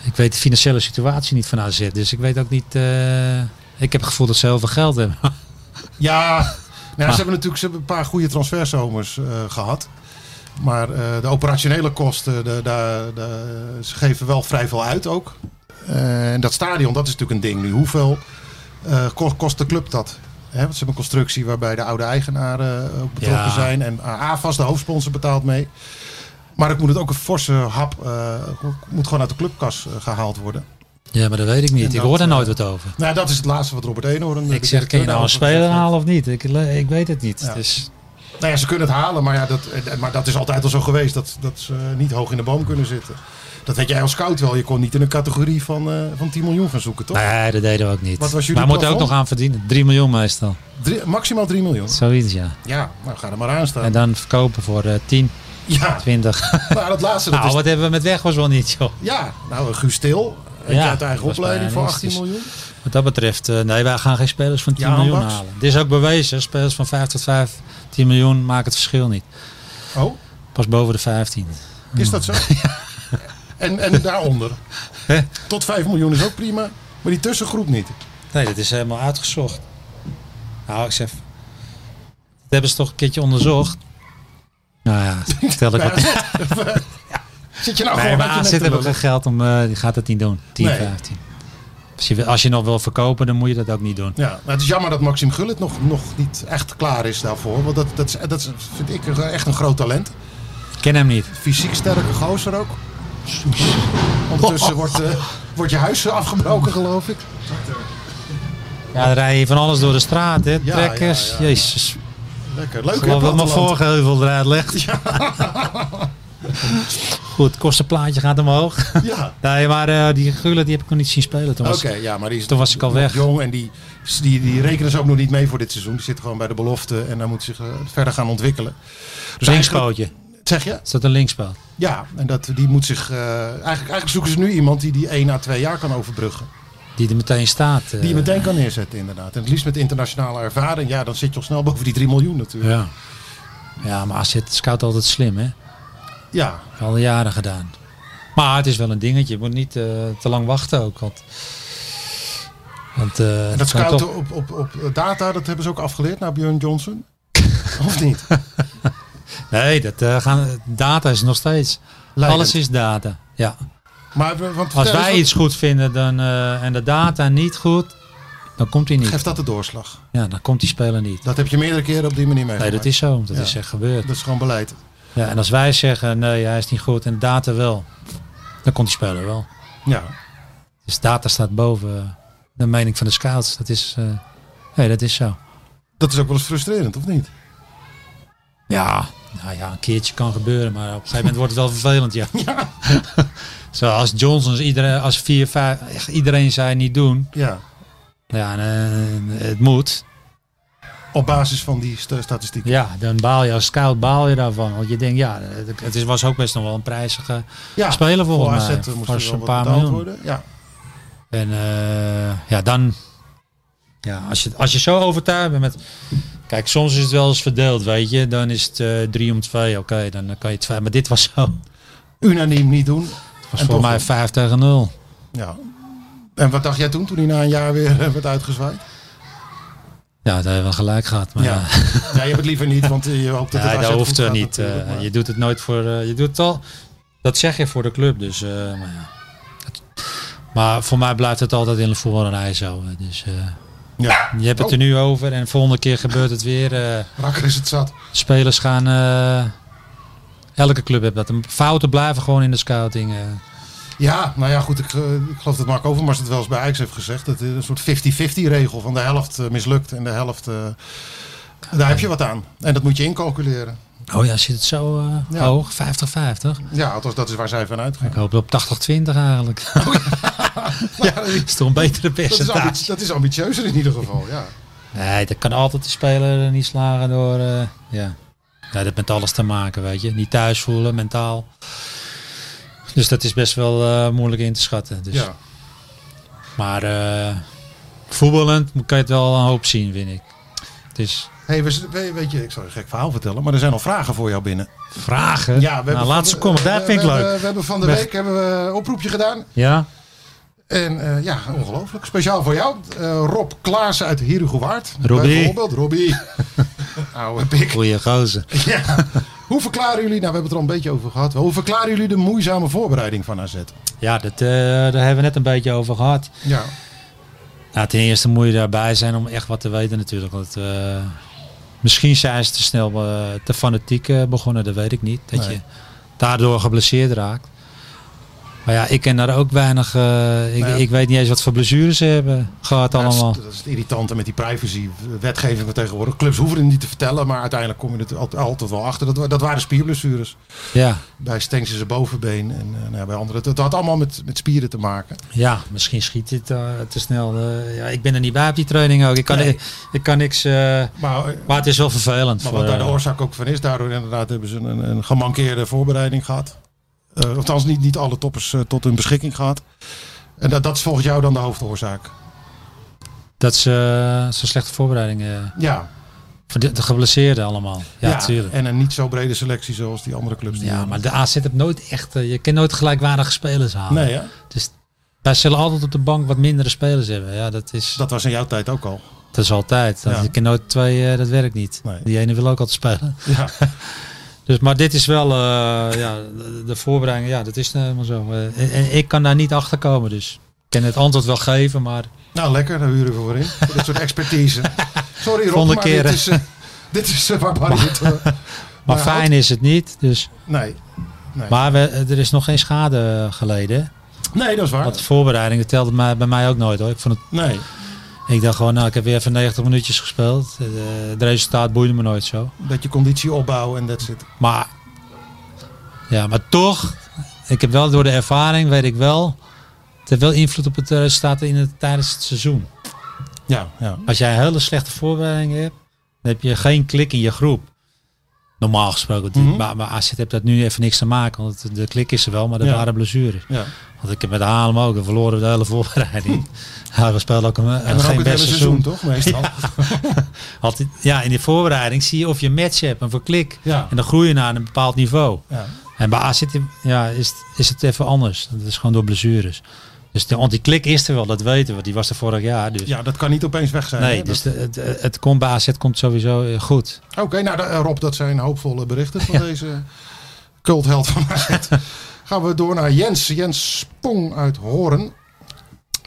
S7: ik weet de financiële situatie niet van AZ. Dus ik weet ook niet, eh, ik heb het gevoel dat ze heel veel geld hebben.
S5: Ja, nou,
S7: Maar-
S5: ze hebben natuurlijk ze hebben een paar goede transferzomers eh, gehad. Maar eh, de operationele kosten, de, de, de- ze geven wel vrij veel uit ook. Eh, en dat stadion, dat is natuurlijk een ding nu. Hoeveel eh, ko- kost de club dat? Hè, want ze hebben een constructie waarbij de oude eigenaren eh, ook betrokken
S7: Ja.
S5: zijn. En AFAS, de hoofdsponsor, betaalt mee. Maar ik moet het ook een forse hap, eh, moet gewoon uit de clubkas eh, gehaald worden.
S7: Ja, maar dat weet ik niet.
S5: En
S7: Ik
S5: dat,
S7: hoor daar
S5: eh,
S7: nooit wat over.
S5: Nou, dat is het laatste wat Robert Eenhoorn... eh, de
S7: Ik zeg, kun je nou een
S5: directeur,
S7: speler
S5: daarover gezegd
S7: halen of niet? Ik, le- ik weet het niet.
S5: Ja.
S7: Dus,
S5: heeft. Nou ja, ze kunnen het halen, maar, ja, dat, eh, maar dat is altijd al zo geweest. Dat, dat ze eh, niet hoog in de boom kunnen zitten. Dat weet jij als scout wel. Je kon niet in een categorie van, eh, van 10 miljoen gaan zoeken, toch?
S7: nee, nou dat deden we ook niet.
S5: Wat was jullie
S7: maar we moeten ook
S5: plafond?
S7: nog aan verdienen. 3 miljoen meestal.
S5: Drie- maximaal 3 miljoen.
S7: Zoiets, ja.
S5: Ja, nou ga er maar aan staan.
S7: En dan verkopen voor eh 10,
S5: Ja,
S7: 20.
S5: nou dat laatste. Dat
S7: nou,
S5: is,
S7: wat hebben we met weg was wel niet, joh.
S5: ja, nou Guus Stil.
S7: Ja,
S5: Ja, uit eigen
S7: dat was
S5: opleiding
S7: bijna
S5: voor
S7: niks,
S5: 18
S7: dus-
S5: miljoen.
S7: Wat dat betreft, eh, nee, wij gaan geen spelers van 10
S5: Ja,
S7: miljoen
S5: Max.
S7: halen. Dit is ook bewezen. Spelers van 5 tot 5, 10 miljoen maken het verschil niet.
S5: Oh,
S7: Pas boven de 15.
S5: is dat zo? En, en daaronder.
S7: Hmm. Hè?
S5: Tot 5 miljoen is ook prima. Maar die tussengroep niet.
S7: Nee, dat is helemaal uitgezocht. Nou, ik zeg. Dat hebben ze toch een keertje onderzocht. Nou ja, stel ik wat.
S5: Zit je nou
S7: Nee,
S5: gewoon
S7: maar
S5: met je nek
S7: AZ
S5: te
S7: hebben ook
S5: lullen?
S7: geen geld om. eh, die gaat het niet doen. 10,
S5: Nee.
S7: 15. Als je, als je nog wil verkopen, dan moet je dat ook niet doen.
S5: Ja, maar het is jammer dat Maxim Gullit nog, nog niet echt klaar is daarvoor. Want dat, dat, is- dat is- vind ik echt een groot talent.
S7: Ik ken hem niet.
S5: Fysiek sterke gozer ook. Ondertussen wordt, eh, wordt je huis afgebroken, geloof ik.
S7: Ja, dan rij je van alles door de straat, hè?
S5: ja,
S7: Trekkers.
S5: ja.
S7: Jezus.
S5: Lekker. Leuk,
S7: Ik
S5: hè,
S7: geloof dat mijn
S5: platteland.
S7: voorgeheuvel eruit legt. Goed, kostenplaatje gaat omhoog.
S5: Ja.
S7: Nee, maar eh, die Gullit die heb ik nog niet zien spelen. Toen
S5: Oké,
S7: was
S5: ja, maar die is
S7: toen was ik al
S5: nog
S7: weg.
S5: Jong en die, die, die rekenen ze ook nog niet mee voor dit seizoen. Die zitten gewoon bij de belofte en dan moet zich eh, verder gaan ontwikkelen. Dus eigenlijk-
S7: linkspootje.
S5: Zeg je?
S7: Is dat een linkspoot?
S5: Ja, en dat, die moet zich. eh, eigenlijk, eigenlijk zoeken ze nu iemand die die 1 à 2 jaar kan overbruggen.
S7: Die er meteen staat. eh.
S5: Die je meteen kan neerzetten, inderdaad. En het liefst met internationale ervaring. Ja, dan zit je al snel boven die 3 miljoen natuurlijk.
S7: Ja. Ja, maar AZ scout altijd slim, hè?
S5: Ja,
S7: Al jaren gedaan. Maar het is wel een dingetje. Je moet niet eh, te lang wachten ook. Want, want eh,
S5: en
S7: het kan
S5: dat scouten
S7: toch-
S5: op, op, op data, dat hebben ze ook afgeleerd naar Björn Johnson. of niet?
S7: Nee, dat, eh, gaan, data is nog steeds.
S5: Leidend.
S7: Alles is data. Ja.
S5: Maar, we- want
S7: Als
S5: vertel eens
S7: wij
S5: wat-
S7: iets goed vinden dan, eh, en de data niet goed, dan komt hij niet.
S5: Geeft dat de doorslag?
S7: Ja, dan komt die speler niet.
S5: Dat heb je meerdere keren op die manier meegemaakt.
S7: Nee, dat is zo. Dat
S5: Ja.
S7: is echt gebeurd.
S5: dat is gewoon beleid.
S7: Ja, en als wij zeggen, nee, hij is niet goed en data wel, dan komt die speler wel.
S5: Ja.
S7: Dus data staat boven eh, de mening van de scouts. Dat is, eh, nee, dat is zo.
S5: Dat is ook wel eens frustrerend, of niet?
S7: Ja, nou ja, een keertje kan gebeuren, maar op een gegeven moment wordt het wel vervelend, ja. Zoals Johnson's, iedereen, als vier, vijf, echt iedereen zei niet doen.
S5: Ja.
S7: Ja, en, eh, het moet.
S5: Op basis van die st- statistieken.
S7: Ja, dan baal je als scout, baal je daarvan. Want je denkt, ja, het- het is, was ook best nog wel een prijzige
S5: Ja.
S7: speler
S5: Voor
S7: volgens
S5: AZ
S7: mij.
S5: moest er
S7: Was
S5: wel
S7: een
S5: wat
S7: paar
S5: betaald
S7: miljoen.
S5: worden. Ja.
S7: En eh, ja, dan. Ja, als je, als je zo overtuigd bent met. Kijk, soms is het wel eens verdeeld, weet je. Dan is het eh, drie om twee, oké, dan eh, kan je het vijf. Maar dit was zo. Het
S5: Unaniem niet doen.
S7: was
S5: En
S7: voor
S5: toch
S7: mij
S5: wel.
S7: vijf tegen nul.
S5: Ja. En wat dacht jij toen, toen hij na een jaar weer eh, werd uitgezwaaid?
S7: Ja, daar hebben we gelijk gehad. Maar ja,
S5: Jij hebt het liever niet, want je hoopt dat
S7: ja,
S5: het AZ
S7: dat
S5: goed
S7: hoeft er
S5: gaat
S7: niet.
S5: natuurlijk,
S7: eh,
S5: maar-
S7: je doet het nooit voor. eh, je doet het al. Dat zeg je voor de club, dus. eh, maar, ja. Het- maar voor mij blijft het altijd in de voetballerij zo. eh, Dus eh,
S5: ja.
S7: je hebt het
S5: Oh.
S7: er nu over en de volgende keer gebeurt het weer. eh,
S5: Rakker is het zat.
S7: spelers gaan. eh, elke club heeft dat. Fouten blijven gewoon in de scouting. eh.
S5: Ja, nou ja, goed. Ik, eh, ik geloof dat Mark Overmars het wel eens bij Ajax heeft gezegd. Dat is een soort 50-50 regel. Van de helft eh, mislukt en de helft... eh, daar heb je wat aan. En dat moet je incalculeren.
S7: Oh ja, zit het zo eh,
S5: Ja.
S7: hoog? 50-50.
S5: Ja, althans, dat is waar zij van uitgaan.
S7: Ik hoop op 80-20 eigenlijk.
S5: Oh Ja,
S7: is toch een betere
S5: dat, is ambi-
S7: percentage?
S5: dat is ambitieuzer in ieder geval, ja.
S7: Nee, dat kan altijd de speler eh, niet slagen door. eh, ja. ja, dat heeft met alles te maken, weet je. Niet thuis voelen, mentaal. Dus dat is best wel eh, moeilijk in te schatten. Dus.
S5: ja.
S7: Maar eh, voetballend kan je het wel een hoop zien, vind ik. Het is
S5: Hey, we, z- we- weet je, ik zal je een gek verhaal vertellen, maar er zijn al vragen voor jou binnen.
S7: vragen. Eh, nou,
S5: van
S7: laatste
S5: de-
S7: comment,
S5: we-
S7: dat
S5: we
S7: vind ik leuk.
S5: hebben- We hebben van de
S7: Weg.
S5: week hebben we een oproepje gedaan.
S7: Ja?
S5: En eh, ja, ongelooflijk. Speciaal voor jou, eh, Rob Klaassen uit Herugewaard.
S7: Robbie.
S5: Bijvoorbeeld, Robbie. Oude pik.
S7: Goeie gozer.
S5: Ja. Hoe verklaren jullie, nou we hebben het er al een beetje over gehad, hoe verklaren jullie de moeizame voorbereiding van AZ?
S7: Ja, dat, eh, daar hebben we net een beetje over gehad.
S5: Ja,
S7: Nou, Ja, ten eerste moet je daarbij zijn om echt wat te weten natuurlijk. Want, eh, misschien zijn ze te snel eh, te fanatiek eh, begonnen, dat weet ik niet. Dat
S5: Nee.
S7: je daardoor geblesseerd raakt. Maar ja, ik ken daar ook weinig. eh, ik,
S5: Nou ja.
S7: ik weet niet eens wat voor blessures ze hebben gehad
S5: Ja, dat is-
S7: allemaal.
S5: Dat is het irritante met die privacy-wetgeving van tegenwoordig. Clubs hoeven het niet te vertellen, maar uiteindelijk kom je er al- altijd wel achter. Dat, wa- dat waren spierblessures.
S7: Ja,
S5: Bij Stenks is zijn bovenbeen en eh, nou ja, bij anderen. Dat had allemaal met, met spieren te maken.
S7: ja, misschien schiet dit eh, te snel. eh, ja, ik ben er niet bij op die training ook. Ik kan,
S5: Nee.
S7: ik, ik kan niks. eh,
S5: Maar, eh,
S7: maar het is wel vervelend.
S5: maar
S7: voor,
S5: wat daar de
S7: eh,
S5: oorzaak ook van is, daardoor inderdaad hebben ze een, een gemankeerde voorbereiding gehad. Eh althans, niet, niet alle toppers eh, tot hun beschikking gehad. En dat, dat is volgens jou dan de hoofdoorzaak?
S7: dat ze, eh, ze slechte voorbereidingen.
S5: Ja,
S7: Voor de, de geblesseerden allemaal. Ja, tuurlijk.
S5: En een niet zo brede selectie zoals die andere clubs. Die
S7: Ja,
S5: hebben.
S7: maar de AZ hebt nooit echt... eh, je kan nooit gelijkwaardige spelers halen.
S5: Nee, hè?
S7: Dus wij zullen altijd op de bank wat mindere spelers hebben. Ja, dat is, dat,
S5: dat was in jouw tijd ook al.
S7: is altijd. Dat,
S5: Ja.
S7: Je kan nooit twee... eh, dat werkt niet.
S5: Nee.
S7: Die ene wil ook altijd spelen.
S5: Ja.
S7: Dus, maar dit is wel... eh, ja, de, de voorbereiding, ja, dat is nou helemaal zo. Eh, en, en ik kan daar niet achter komen, dus... Ik kan het antwoord wel geven, maar
S5: Nou, lekker, daar huren we voor in. Voor dit soort expertise. Sorry Rob,
S7: Volgende
S5: maar
S7: keer,
S5: dit
S7: hè?
S5: is, eh, dit is eh, waar Barry het... eh,
S7: maar
S5: Maar
S7: fijn is het niet. Dus.
S5: nee.
S7: Maar we, er is nog geen schade eh, geleden.
S5: nee, dat is waar.
S7: Want de voorbereiding, dat telde mij- bij mij ook nooit hoor. Ik vond het
S5: Nee,
S7: Ik dacht gewoon, nou, ik heb weer even 90 minuutjes gespeeld. Eh, Het resultaat boeide me nooit zo.
S5: dat je conditie opbouwen en dat zit.
S7: Maar, ja, maar toch, ik heb wel door de ervaring, weet ik wel, het heeft wel invloed op het resultaat in het, tijdens het seizoen.
S5: Ja, ja.
S7: Als jij een hele slechte voorbereiding hebt, dan heb je geen klik in je groep. Normaal gesproken. Die-
S5: Mhm.
S7: Maar, maar AZ heeft dat nu even niks te maken, want de klik is er wel, maar er
S5: Ja.
S7: waren blessures.
S5: ja.
S7: Want ik heb met Haarlem ook, dan verloren we de hele voorbereiding. Ja, we speelden ook een,
S5: En dan ook
S7: geen
S5: het hele
S7: best
S5: seizoen,
S7: seizoen.
S5: toch? Meestal. Ja.
S7: Altijd, ja, in die voorbereiding zie je of je een match hebt, een verklik.
S5: Ja.
S7: En dan groei je naar een bepaald niveau. En bij AZ ja, is, het- is het even anders. Dat is gewoon door blessures. Dus de, want die klik is er wel, dat weten we. Die was er vorig jaar. Dus.
S5: Ja, dat kan niet opeens weg zijn.
S7: nee,
S5: hè?
S7: dus de- het, het, komt bij AZ komt sowieso eh, goed.
S5: Oké, nou da- eh, Rob, dat zijn hoopvolle berichten van deze cultheld van AZ. Gaan we door naar Jens. Jens Spong uit Horen.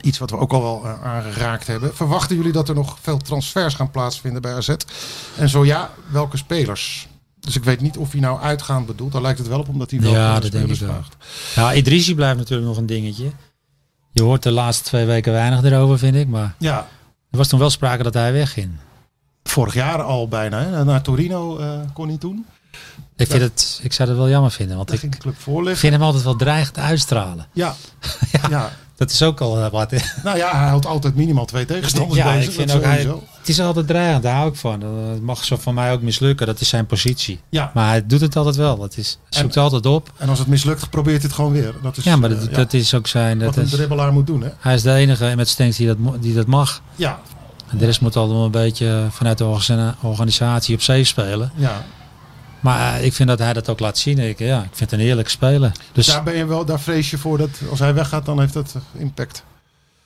S5: Iets wat we ook al wel eh, aangeraakt hebben. Verwachten jullie dat er nog veel transfers gaan plaatsvinden bij AZ? En zo ja, welke spelers? Dus ik weet niet of hij nou uitgaand bedoelt. Daar lijkt het wel op, omdat hij wel
S7: Ja,
S5: om de
S7: dat denk
S5: spelers
S7: ik wel.
S5: vraagt.
S7: Ja, Idrisi blijft natuurlijk nog een dingetje. Je hoort de laatste twee weken weinig erover, vind ik. Maar
S5: Ja,
S7: er was toen wel sprake dat hij wegging.
S5: vorig jaar al bijna. Hè? Naar Torino eh, kon hij toen.
S7: Ik, vind het, ik zou dat wel jammer vinden, want
S5: Daar
S7: ik
S5: ging de club voorleggen.
S7: vind hem altijd wel dreigend uitstralen.
S5: Ja. ja.
S7: Dat is ook al eh, wat. hè?
S5: Nou ja, hij houdt altijd minimaal twee tegenstanders
S7: Ja,
S5: bezig.
S7: ik vind
S5: dat
S7: ook, hij,
S5: sowieso.
S7: het is altijd dreigend, daar hou ik van. Dat mag zo van mij ook mislukken, dat is zijn positie.
S5: Ja.
S7: Maar hij doet het altijd wel, dat is, hij zoekt altijd op.
S5: En als het mislukt, probeert hij het gewoon weer. Dat is,
S7: Ja, maar
S5: eh,
S7: dat, dat is ook zijn,
S5: wat
S7: dat
S5: een
S7: is,
S5: dribbelaar moet doen, hè?
S7: hij is de enige met Stenks die dat, mo- die dat mag.
S5: Ja,
S7: En de rest moet altijd wel een beetje vanuit de orga- organisatie op zee spelen.
S5: ja.
S7: Maar eh, ik vind dat hij dat ook laat zien. Ik, ja, ik vind het een eerlijk speler. Dus
S5: Daar, ben je wel, daar vrees je voor dat als hij weggaat, dan heeft dat eh, impact.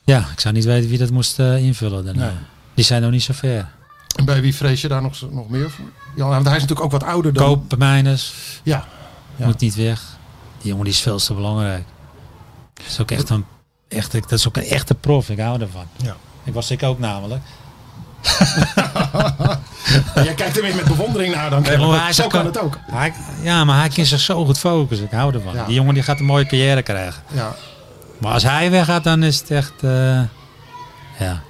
S7: ja, ik zou niet weten wie dat moest eh, invullen daarna.
S5: Nee.
S7: Die zijn nog niet zo ver.
S5: En bij wie vrees je daar nog, zo- nog meer voor? Ja, want hij is natuurlijk ook wat ouder dan...
S7: Koop Mijners,
S5: Ja, Ja.
S7: moet niet weg. Die jongen die is veel te belangrijk. Dat is ook echt een, echt, dat is ook een echte prof. Ik hou ervan.
S5: Ja.
S7: Ik was ik ook namelijk.
S5: En jij kijkt er weer met bewondering naar dan.
S7: maar
S5: kennelijk.
S7: hij is
S5: Zo
S7: ook
S5: kan
S7: een-
S5: het ook.
S7: Hij, ja, maar hij kan zich zo goed focussen. Ik hou ervan.
S5: Ja.
S7: Die jongen die gaat een mooie carrière krijgen.
S5: Ja.
S7: Maar als hij weggaat, dan is het echt... eh, ja.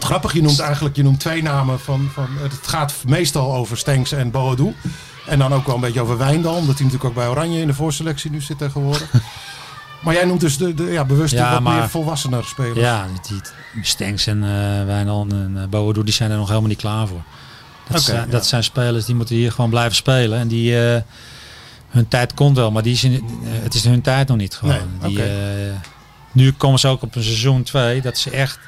S5: Grappig, je noemt eigenlijk je noemt twee namen van, van... Het gaat meestal over Stenks en Boadu. En dan ook wel een beetje over Wijndal. Omdat hij natuurlijk ook bij Oranje in de voorselectie nu zit tegenwoordig. Maar jij noemt dus de, de, ja, bewust
S7: Ja,
S5: wat meer
S7: maar-
S5: volwassener spelers.
S7: ja, die die Stenks en eh Wijnald en eh Boadu, die zijn er nog helemaal niet klaar voor. Dat,
S5: Oké,
S7: zijn,
S5: ja.
S7: dat zijn spelers die moeten hier gewoon blijven spelen. En die, eh, hun tijd komt wel, maar die is in- eh, het is hun tijd nog niet gewoon.
S5: Nee,
S7: die,
S5: oké.
S7: eh, nu komen ze ook op een seizoen 2, dat ze echt...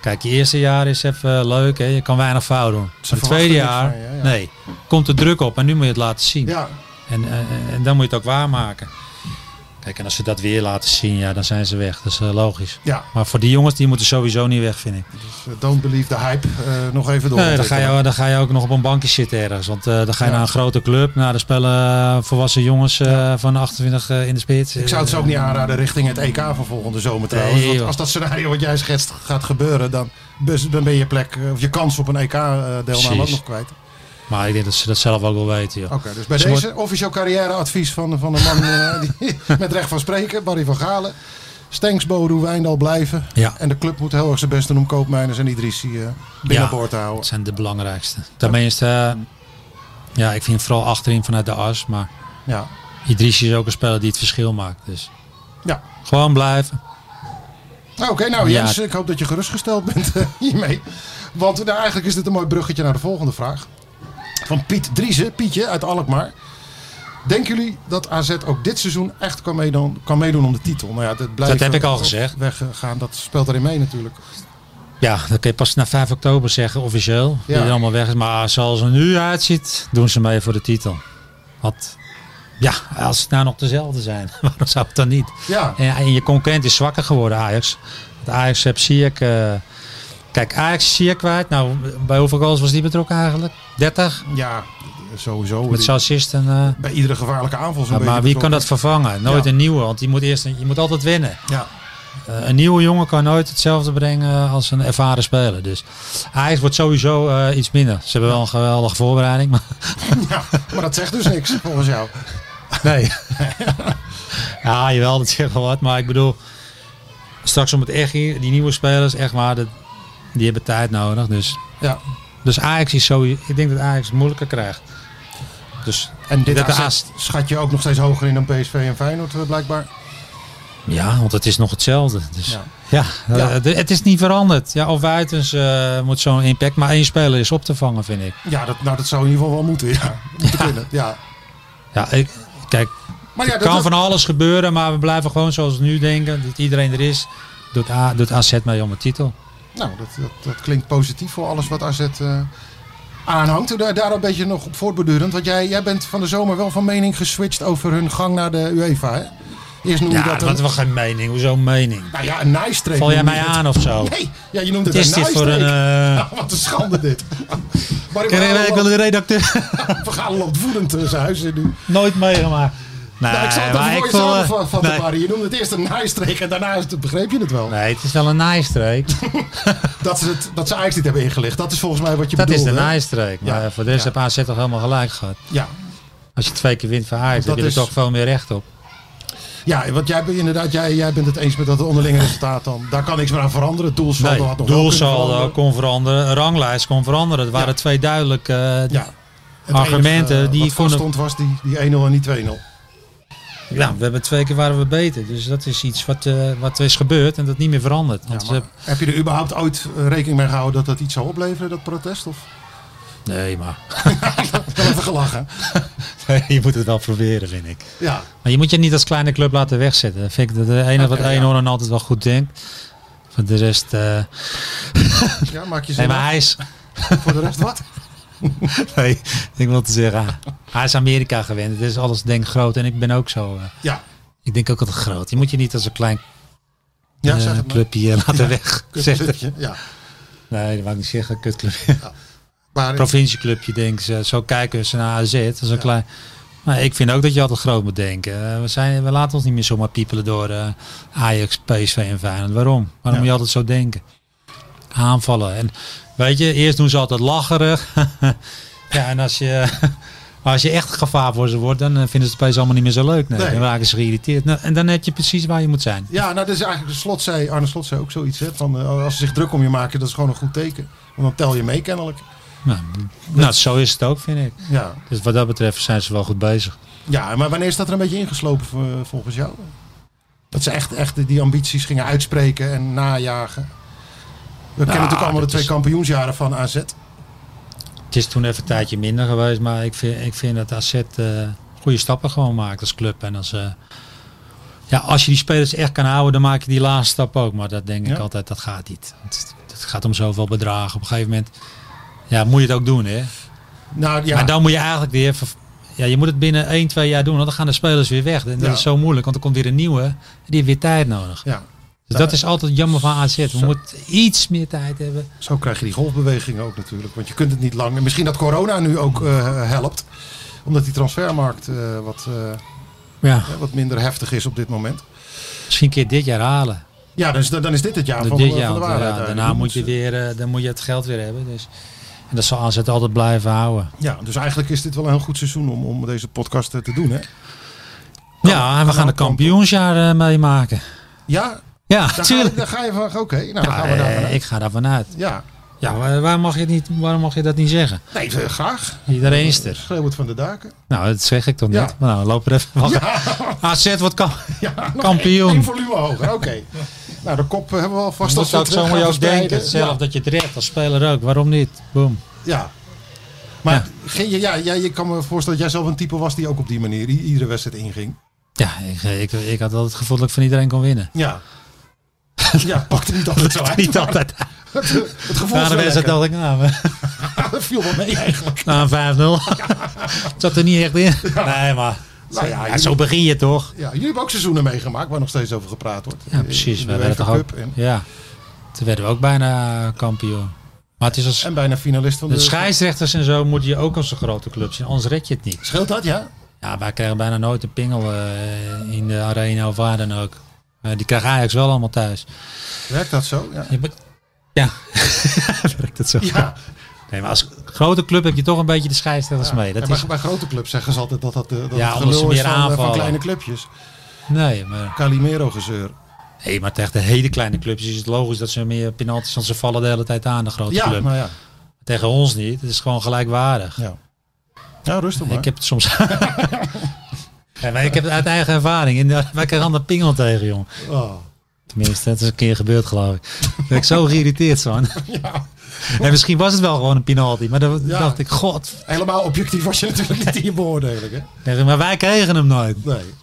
S7: Kijk, je eerste jaar is even leuk, hè? je kan weinig fout doen.
S5: Ze
S7: het tweede
S5: verwachten
S7: jaar,
S5: niks van je, ja.
S7: nee, komt de druk op en nu moet je het laten zien.
S5: Ja,
S7: En, eh, en dan moet je het ook waarmaken. Kijk, en als ze dat weer laten zien, ja, dan zijn ze weg. Dat is eh, logisch.
S5: Ja,
S7: Maar voor die jongens, die moeten sowieso niet weg, vind ik.
S5: dus don't believe the hype. Eh, nog even door.
S7: Nee, dan ga, je, dan ga je ook nog op een bankje zitten ergens. Want eh, dan ga je
S5: Ja.
S7: naar een grote club. Nou, daar spelen eh, volwassen jongens eh, van 28 eh, in de spits.
S5: Ik zou het ze ook niet aanraden richting het EK van volgende zomer trouwens.
S7: Nee,
S5: Want
S7: joh.
S5: als dat scenario wat jij schetst gaat gebeuren, dan, bes- dan ben je plek eh, of je kans op een EK-deelname ook
S7: Precies.
S5: nog kwijt. Oké,
S7: Maar ik denk dat ze dat zelf ook wel weten, joh.
S5: dus bij
S7: Ze
S5: deze officieel carrièreadvies van, van de man eh, die, met recht van spreken, Barry van Galen. Stenks, Bodo, Wijndal blijven.
S7: Ja.
S5: En de club moet heel erg zijn best doen om Koopmijners en Idrissi eh, binnenboord te houden.
S7: Dat zijn de belangrijkste. Tenminste, eh, ja, ik vind vooral achterin vanuit de as. Maar
S5: Ja.
S7: Idrissi is ook een speler die het verschil maakt. Dus
S5: ja.
S7: gewoon blijven.
S5: Nou, Oké, nou
S7: Ja.
S5: Jens, ik hoop dat je gerustgesteld bent eh, hiermee. Want nou, eigenlijk is dit een mooi bruggetje naar de volgende vraag. Van Piet Driessen, Pietje uit Alkmaar. Denken jullie dat AZ ook dit seizoen echt kan meedoen, kan meedoen om de titel? Nou ja, dat, blijft
S7: Dat heb ik al
S5: op-
S7: gezegd.
S5: Weggaan, dat speelt erin mee natuurlijk.
S7: Ja, dat kun je pas na 5 oktober zeggen, officieel.
S5: Ja.
S7: Die er allemaal weg is. Maar zoals het er nu uitziet, doen ze mee voor de titel. Want ja, als het nou nog dezelfde zijn, waarom zou het dan niet?
S5: Ja,
S7: En, en je concurrent is zwakker geworden, Ajax. Want Ajax heb Ziyech... eh kijk, Ajax is Ziyech kwijt. Nou, bij hoeveel goals was die betrokken eigenlijk? 30?
S5: ja sowieso.
S7: Met zijn assist en... eh,
S5: Bij iedere gevaarlijke aanval zo'n
S7: maar
S5: beetje
S7: wie kan dat
S5: betrokken.
S7: vervangen? Nooit
S5: Ja.
S7: een nieuwe, want die moet eerst, je moet altijd winnen.
S5: Ja,
S7: Eh, een nieuwe jongen kan nooit hetzelfde brengen als een ervaren speler. Dus Ajax wordt sowieso eh, iets minder. Ze hebben wel een geweldige voorbereiding. Maar
S5: ja, maar dat zegt dus niks volgens jou.
S7: nee. ja, jawel, dat zegt wel wat. Maar ik bedoel, straks om het echt hier, die nieuwe spelers, echt waar, dat, die hebben tijd nodig. Dus,
S5: Ja.
S7: dus Ajax is sowieso, ik denk dat Ajax het moeilijker krijgt. Dus
S5: En dit
S7: Dat de
S5: AZ
S7: AZ
S5: schat je ook nog steeds hoger in dan PSV en Feyenoord eh, blijkbaar.
S7: ja, want het is nog hetzelfde. Dus,
S5: Ja.
S7: ja.
S5: Ja.
S7: eh, de- het is niet veranderd. Ja, of Wuitens eh, moet zo'n impact, maar één speler is op te vangen, vind ik.
S5: Ja, dat, nou, dat zou in ieder geval wel moeten. Ja, moeten kunnen. Ja.
S7: Ja, ik, kijk,
S5: Maar Oh ja,
S7: het
S5: dat-
S7: kan van alles gebeuren, maar we blijven gewoon zoals we nu denken. Dat iedereen er is. Doet, A, doet AZ mee om een titel.
S5: Nou, dat, dat, dat klinkt positief voor alles wat AZ eh, aanhangt. En Daar, daar een beetje nog op voortbedurend. Want jij, jij bent van de zomer wel van mening geswitcht over hun gang naar de UEFA. Hè? Eerst noemde je
S7: Ja,
S5: dat
S7: dat
S5: een,
S7: was geen mening. Hoezo een mening?
S5: nou ja, een nijstreek.
S7: Val jij
S5: noemde
S7: mij
S5: je het.
S7: aan of zo?
S5: Nee, ja, je noemde
S7: Wat
S5: het
S7: is
S5: een
S7: dit voor een...
S5: nijstreek.
S7: eh
S5: Nou, wat een schande dit. Maar ik
S7: ik weet wel, de redacteur.
S5: verhaal loopt voedend tussen eh, zijn huis in nu.
S7: Nooit meegemaakt. Nee,
S5: Nou, ik zal het even
S7: maar
S5: voor
S7: ik
S5: je
S7: wil, eh,
S5: samenvatten,
S7: nee.
S5: Barry. Je noemde het eerst een nijstreek en daarna is het- begreep je het wel.
S7: Nee, het is wel een naaistreek.
S5: Dat, ze het, dat ze Ajax niet hebben ingelicht. Dat is volgens mij wat je
S7: Dat is
S5: bedoelde.
S7: de
S5: hè?
S7: naaistreek. Maar
S5: Ja.
S7: eh, voor de rest
S5: Ja.
S7: heb AZ toch helemaal gelijk gehad.
S5: Ja,
S7: Als je twee keer wint van Ajax,
S5: Dat
S7: heb je er
S5: is-
S7: toch veel meer recht op.
S5: Ja, want jij, bent inderdaad, jij, jij bent het eens met dat onderlinge resultaat dan. Daar kan niks meer aan veranderen. Het Doelsaldo
S7: Nee,
S5: had nog wel kunnen
S7: doelsaldo
S5: veranderen.
S7: kon veranderen, ranglijst kon veranderen. Het waren twee duidelijke eh,
S5: Ja. Het
S7: Argumenten
S5: enige, eh,
S7: die
S5: wat
S7: voor de-
S5: stond was die, die 1-0 en die 2-0.
S7: Ja, we hebben twee keer waren we beter. Dus dat is iets wat, eh, wat is gebeurd en dat niet meer verandert. Want,
S5: Ja, maar
S7: eh,
S5: Heb je er überhaupt ooit eh, rekening mee gehouden dat dat iets zou opleveren, dat protest? Of
S7: nee, maar
S5: Ik heb even gelachen?
S7: je moet het wel proberen, vind ik.
S5: Ja,
S7: Maar je moet je niet als kleine club laten wegzetten. Dat vind ik de- de enige wat
S5: Oké, ja.
S7: Eenhoorn altijd wel goed denkt. Voor de rest... eh,
S5: ja maak je
S7: nee,
S5: zin
S7: maar hij is...
S5: af. voor de rest wat?
S7: Nee, ik wil te zeggen. ah. Hij is Amerika gewend. Het is alles denk groot. En ik ben ook zo. eh,
S5: Ja,
S7: ik denk ook altijd groot. Je moet je niet als een klein
S5: ja
S7: eh,
S5: zeg het maar.
S7: clubje eh, laten wegzetten.
S5: Clubje, Ja.
S7: Nee, dat mag ik niet zeggen. Kutclub.
S5: Maar
S7: provincieclubje denken ze. Zo kijken ze naar AZ. Dat is een klein... Maar ik vind ook dat je altijd groot moet denken. Eh, we, zijn, we laten ons niet meer zomaar piepelen door eh, Ajax, PSV en Feyenoord. Waarom? Waarom moet je altijd zo denken? Aanvallen. En weet je, eerst doen ze altijd lacherig. ja, en als je, als je echt gevaar voor ze wordt, dan eh, vinden ze het opeens allemaal niet meer zo leuk. Nee,
S5: Nee.
S7: Dan raken ze geïrriteerd. Nou, en dan heb je precies waar je moet zijn.
S5: Ja, nou, dat is eigenlijk, Slot zei, Arne Slot zei ook zoiets, hè, van eh, als ze zich druk om je maken, dat is gewoon een goed teken. Want dan tel je mee kennelijk.
S7: Nou, nou, zo is het ook, vind ik.
S5: Ja,
S7: Dus wat dat betreft zijn ze wel goed bezig.
S5: Ja, maar wanneer is dat er een beetje ingeslopen vo- eh, volgens jou? Dat ze echt, echt die ambities gingen uitspreken en najagen. We kennen natuurlijk allemaal de
S7: Nou, dat
S5: twee
S7: is-
S5: kampioensjaren van AZ.
S7: Het is toen even een tijdje minder geweest, maar ik vind, ik vind dat AZ eh, goede stappen gewoon maakt als club. En als, eh, ja, als je die spelers echt kan houden, dan maak je die laatste stap ook. Maar dat denk
S5: Ja.
S7: ik altijd, dat gaat niet. Het, het gaat om zoveel bedragen. Op een gegeven moment ja, moet je het ook doen. Hè?
S5: Nou ja,
S7: Maar dan moet je eigenlijk weer ver- ja, je moet het binnen 1, 2 jaar doen, want dan gaan de spelers weer weg. En dat
S5: Ja.
S7: is zo moeilijk, want er komt weer een nieuwe. Die heeft weer tijd nodig.
S5: Ja,
S7: Dus dat is altijd jammer van AZ. We moeten iets meer tijd hebben.
S5: zo krijg je die golfbewegingen ook natuurlijk. Want je kunt het niet lang. En misschien dat corona nu ook eh, helpt. Omdat die transfermarkt eh, wat, eh,
S7: Ja.
S5: wat minder heftig is op dit moment.
S7: Misschien een keer dit jaar halen.
S5: Ja, dus dan dan is dit het jaar
S7: Dit
S5: van,
S7: dit
S5: van
S7: jaar,
S5: de
S7: want,
S5: waarheid.
S7: ja,
S5: eigenlijk.
S7: daarna moet je, weer, eh, dan moet je het geld weer hebben. Dus. En dat zal AZ altijd blijven houden.
S5: Ja, dus eigenlijk is dit wel een heel goed seizoen om, om deze podcast eh, te doen. Hè?
S7: ja, en we gaan
S5: kan
S7: een
S5: ook
S7: kampioensjaar eh, meemaken.
S5: Ja,
S7: Ja,
S5: daar ga,
S7: natuurlijk.
S5: daar ga je van. Oké, nou dan gaan we daar. vanuit.
S7: eh, ik ga daarvan uit.
S5: Ja,
S7: Ja, waar, waar mag je het niet, waarom mag je dat niet zeggen?
S5: nee, eh, graag.
S7: Iedereen is er.
S5: Schreeuw het van de daken.
S7: Nou, dat zeg ik toch niet.
S5: Ja.
S7: Maar nou, loop er even wacht. AZ wordt kam
S5: Ja, nog
S7: Kampioen.
S5: één- één volume hoger, oké. Nou, de kop hebben we alvast.
S7: Dat
S5: als we
S7: zou ik
S5: het, eh,
S7: zo maar
S5: gaan
S7: jou denken.
S5: verspreiden.
S7: Zelf dat je het redt als speler ook. Waarom niet? Boom.
S5: Ja. ja. Maar ging je, ja, ja, je kan me voorstellen dat jij zelf een type was die ook op die manier i- iedere wedstrijd inging.
S7: Ja, ik, eh, ik, ik had altijd het gevoel dat ik van iedereen kon winnen.
S5: Ja. Ja, pakte niet altijd zo uit.
S7: Niet altijd.
S5: Het, het gevoel
S7: Na
S5: is
S7: de
S5: wel
S7: wedstrijd
S5: lekker.
S7: dacht ik, nou, we-
S5: Dat viel wel mee eigenlijk.
S7: na een 5-0. Het zat er niet echt in. Nee, maar
S5: Nou ja,
S7: ja,
S5: jullie,
S7: zo begin je toch?
S5: ja, jullie hebben ook seizoenen meegemaakt waar nog steeds over gepraat wordt.
S7: Ja, precies.
S5: In
S7: We
S5: de
S7: werden
S5: UEFA
S7: toch ook,
S5: Cup en,
S7: ja. Toen werden we ook bijna kampioen. Maar het is als
S5: en eh, bijna finalist van de...
S7: de scheidsrechters en zo moet je ook als een grote club zien. Anders red je het niet.
S5: Scheelt dat, ja?
S7: Ja, wij krijgen bijna nooit een pingel eh, in de arena of waar dan ook. Eh, die krijgt Ajax wel allemaal thuis.
S5: Werkt dat zo? Ja.
S7: Je be- Ja, werkt het zo.
S5: ja.
S7: Nee, maar als grote club heb je toch een beetje de scheidsrechters mee.
S5: En
S7: Dat
S5: bij,
S7: is,
S5: bij grote clubs zeggen ze altijd dat dat, eh, dat
S7: Ja,
S5: het
S7: omdat ze
S5: gelul is
S7: meer
S5: van, eh, van
S7: aanvallen.
S5: kleine clubjes.
S7: nee, maar,
S5: Calimero gezeur.
S7: nee, maar tegen de hele kleine clubs is het logisch dat ze meer penalties, want ze vallen de hele tijd aan, de grote
S5: Ja,
S7: club.
S5: nou ja.
S7: Tegen ons niet, het is gewoon gelijkwaardig.
S5: Ja, ja rustig maar.
S7: Ik heb het soms. Ja, maar ik heb het uit eigen ervaring. In de, wij kregen een pingel tegen, jong.
S5: Oh.
S7: Tenminste, dat is een keer gebeurd, geloof ik. Daar ben ik zo geïrriteerd van.
S5: Ja.
S7: En misschien was het wel gewoon een penalty. Maar dan
S5: Ja.
S7: dacht ik, god.
S5: Helemaal objectief was je natuurlijk niet in je beoordeling. Hè?
S7: Maar wij kregen hem nooit.
S5: Nee.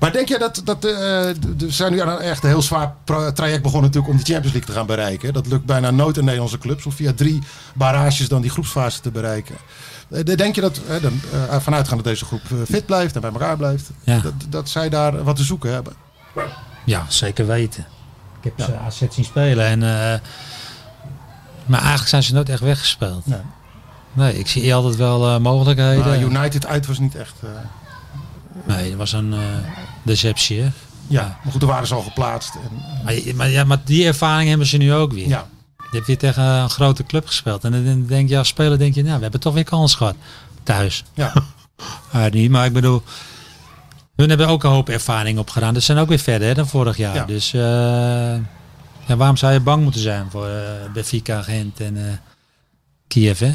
S5: Maar denk jij dat... dat eh, d- we zijn nu aan een echt heel zwaar pro- traject begonnen natuurlijk om de Champions League te gaan bereiken. Dat lukt bijna nooit in Nederlandse clubs. Om via drie barrages dan die groepsfase te bereiken. Eh, de- Denk je dat, eh, dan, eh, vanuitgaan dat deze groep eh, fit blijft en bij elkaar blijft,
S7: Ja.
S5: dat, dat zij daar wat te zoeken hebben?
S7: Ja, zeker weten. Ik heb ze AZ zien spelen. En, eh, maar eigenlijk zijn ze nooit echt weggespeeld.
S5: Nee.
S7: Nee, ik zie altijd wel eh, mogelijkheden.
S5: Maar United uit was niet echt... eh,
S7: nee, dat was een eh, deceptie. Hè?
S5: ja, maar goed, er waren ze al geplaatst. En, eh,
S7: Maar, maar, ja, maar die ervaring hebben ze nu ook weer.
S5: ja.
S7: Je hebt weer tegen een grote club gespeeld. En dan denk je als speler, denk je, nou, we hebben toch weer kans gehad. Thuis.
S5: Ja.
S7: Ah, niet, maar ik bedoel, hun hebben ook een hoop ervaring opgedaan. Dus ze zijn ook weer verder hè, dan vorig jaar.
S5: Ja.
S7: Dus eh, ja, waarom zou je bang moeten zijn voor eh Benfica, Gent en eh, Kiev? Hè?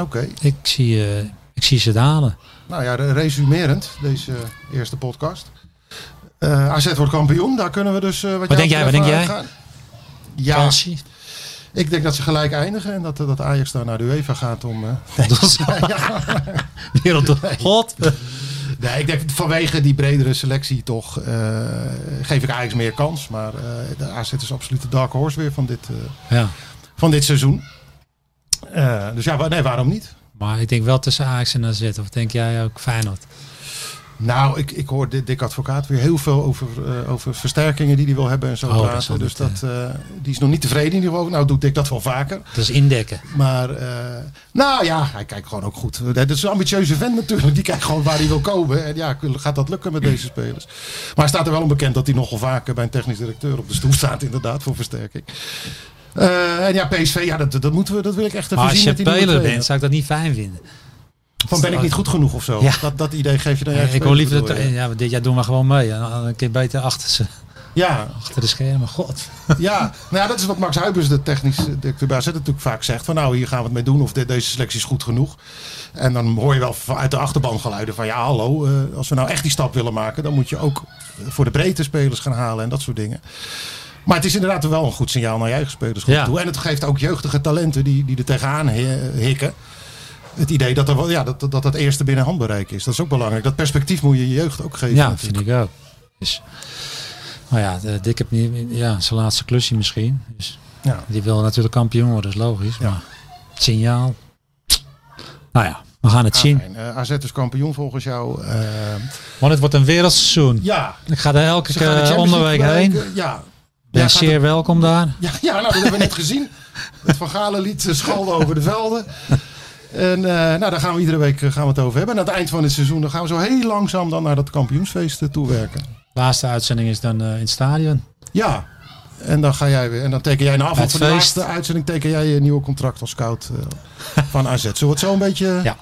S5: Oké.
S7: Ik, zie, eh, ik zie ze het halen.
S5: Nou ja, resumerend, deze eerste podcast. Eh, AZ wordt kampioen, daar kunnen we dus... eh, wat
S7: Wat denk jij,
S5: betreft
S7: wat denk
S5: aan
S7: jij?
S5: gaan. Ja,
S7: Kansie.
S5: ik denk dat ze gelijk eindigen en dat, eh, dat Ajax daar naar de UEFA gaat om... eh,
S7: Wereld God.
S5: nee, ik denk vanwege die bredere selectie toch eh, geef ik Ajax meer kans. Maar eh, de AZ is absoluut de dark horse weer van dit, eh,
S7: Ja.
S5: van dit seizoen. Eh, dus ja, wa- nee, waarom niet?
S7: Maar ik denk wel tussen Ajax en AZ. Of denk jij ook Feyenoord?
S5: Nou, ik, ik hoor Dick Advocaat weer heel veel over, eh, over versterkingen die hij wil hebben en zo
S7: Oh, dat
S5: praten.
S7: zal
S5: dus
S7: niet,
S5: dat, eh, die is nog niet tevreden in ieder geval. Nou doet Dick dat wel vaker.
S7: Dat is indekken.
S5: Maar eh, nou ja, hij kijkt gewoon ook goed. Eh, Dat is een ambitieuze vent natuurlijk. Die kijkt gewoon waar hij wil komen. En ja, gaat dat lukken met deze spelers? Maar hij staat er wel onbekend dat hij nogal vaker bij een technisch directeur op de stoel staat. Inderdaad, voor versterking. Eh, en ja, PSV, ja, dat, dat, moeten we, dat wil ik echt even
S7: Maar als
S5: zien.
S7: je
S5: met die nieuwe
S7: speler
S5: trainer.
S7: bent, zou ik dat niet fijn vinden.
S5: Van ben ik niet goed genoeg of zo?
S7: Ja.
S5: Dat, dat idee geef je dan juist.
S7: ik
S5: mee,
S7: hoor liever
S5: bedoel
S7: dat...
S5: je?
S7: Ja, maar dit jaar doen we gewoon mee. En dan een keer beter achter, ze,
S5: Ja,
S7: achter de schermen. God.
S5: Ja, nou ja, dat is wat Max Huibers, de technische directeur bij AZ, natuurlijk vaak zegt. Van nou, hier gaan we het mee doen of de- deze selectie is goed genoeg. En dan hoor je wel van- uit de achterban geluiden van ja, hallo. eh, als we nou echt die stap willen maken, dan moet je ook voor de breedte spelers gaan halen en dat soort dingen. Maar het is inderdaad wel een goed signaal naar je eigen spelers
S7: Ja.
S5: toe. En het geeft ook jeugdige talenten die, die er tegenaan hi- hikken. Het idee dat, er wel, ja, dat, dat dat eerste binnen handbereik is. Dat is ook belangrijk. Dat perspectief moet je je jeugd ook geven.
S7: Ja,
S5: natuurlijk.
S7: vind ik ook. Dus, maar ja, de- Dick heeft niet, ja, zijn laatste klusje misschien. Dus,
S5: Ja.
S7: Die wil natuurlijk kampioen worden, dat is logisch.
S5: Ja.
S7: Maar het signaal. Nou ja, We gaan het zien.
S5: Fijn. Eh, AZ is kampioen volgens jou. Eh,
S7: Want het wordt een wereldseizoen.
S5: ja.
S7: Ik ga er elke
S5: Ze gaan de
S7: keer
S5: Champions
S7: onderweek
S5: League
S7: heen.
S5: bereiken. Ja.
S7: Ben
S5: Ja, gaat
S7: zeer welkom daar.
S5: Ja, ja nou, dat hebben we net gezien. Het Van Galen lied eh, schalden over de velden. En eh, nou, daar gaan we iedere week eh, gaan we het over hebben. En aan het eind van het seizoen dan gaan we zo heel langzaam dan naar dat kampioensfeest eh, toewerken.
S7: Laatste uitzending is dan eh, in het stadion.
S5: Ja. En dan ga jij weer. En dan teken jij na afloop
S7: Het
S5: van de
S7: feest.
S5: laatste uitzending teken jij je nieuwe contract als scout eh, van AZ. Zullen we het zo een beetje,
S7: Ja.
S5: een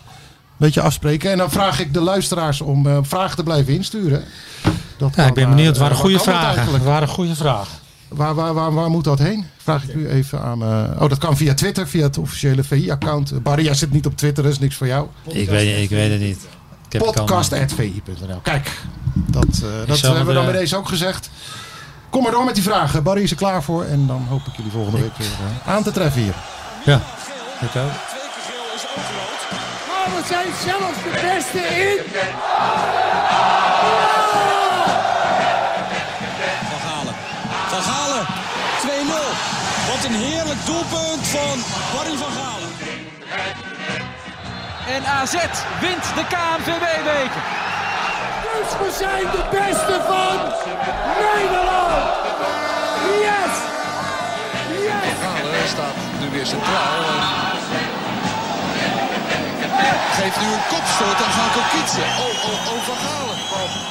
S5: beetje afspreken? En dan vraag ik de luisteraars om eh, vragen te blijven insturen. Dat
S7: Ja,
S5: kan
S7: ik ben
S5: naar,
S7: benieuwd. Het
S5: eh, waar
S7: waren goede
S5: kan dat
S7: vragen. Het
S5: eigenlijk?
S7: waren goede vragen.
S5: Waar, waar, waar, waar moet dat heen? Vraag ik u even aan. eh, oh, dat kan via Twitter, via het officiële VI-account. Barry, jij zit niet op Twitter, dat is niks voor jou.
S7: Ik weet, ik weet het niet. Ik heb het allemaal-
S5: Podcast.vi.nl. Kijk, dat, eh, dat
S7: zal
S5: hebben we
S7: er,
S5: dan
S7: eh,
S5: bij deze ook gezegd. Kom maar door met die vragen. Barry is er klaar voor. En dan hoop ik jullie volgende week weer eh, aan te treffen hier.
S7: Ja, ik ook.
S6: Twee keer geel is ook rood.
S2: Maar we zijn zelfs de beste in.
S6: Van Galen. Van Galen. 2-0. Wat een heerlijk doelpunt van Barry van Galen.
S3: En AZ wint de KNVB-beker.
S2: Dus we zijn de beste van Nederland. Yes. Yes.
S4: Galen staat nu weer centraal. Geef nu een kopstoot, dan ga ik ook kiezen. Oh, oh, oh, Van Galen.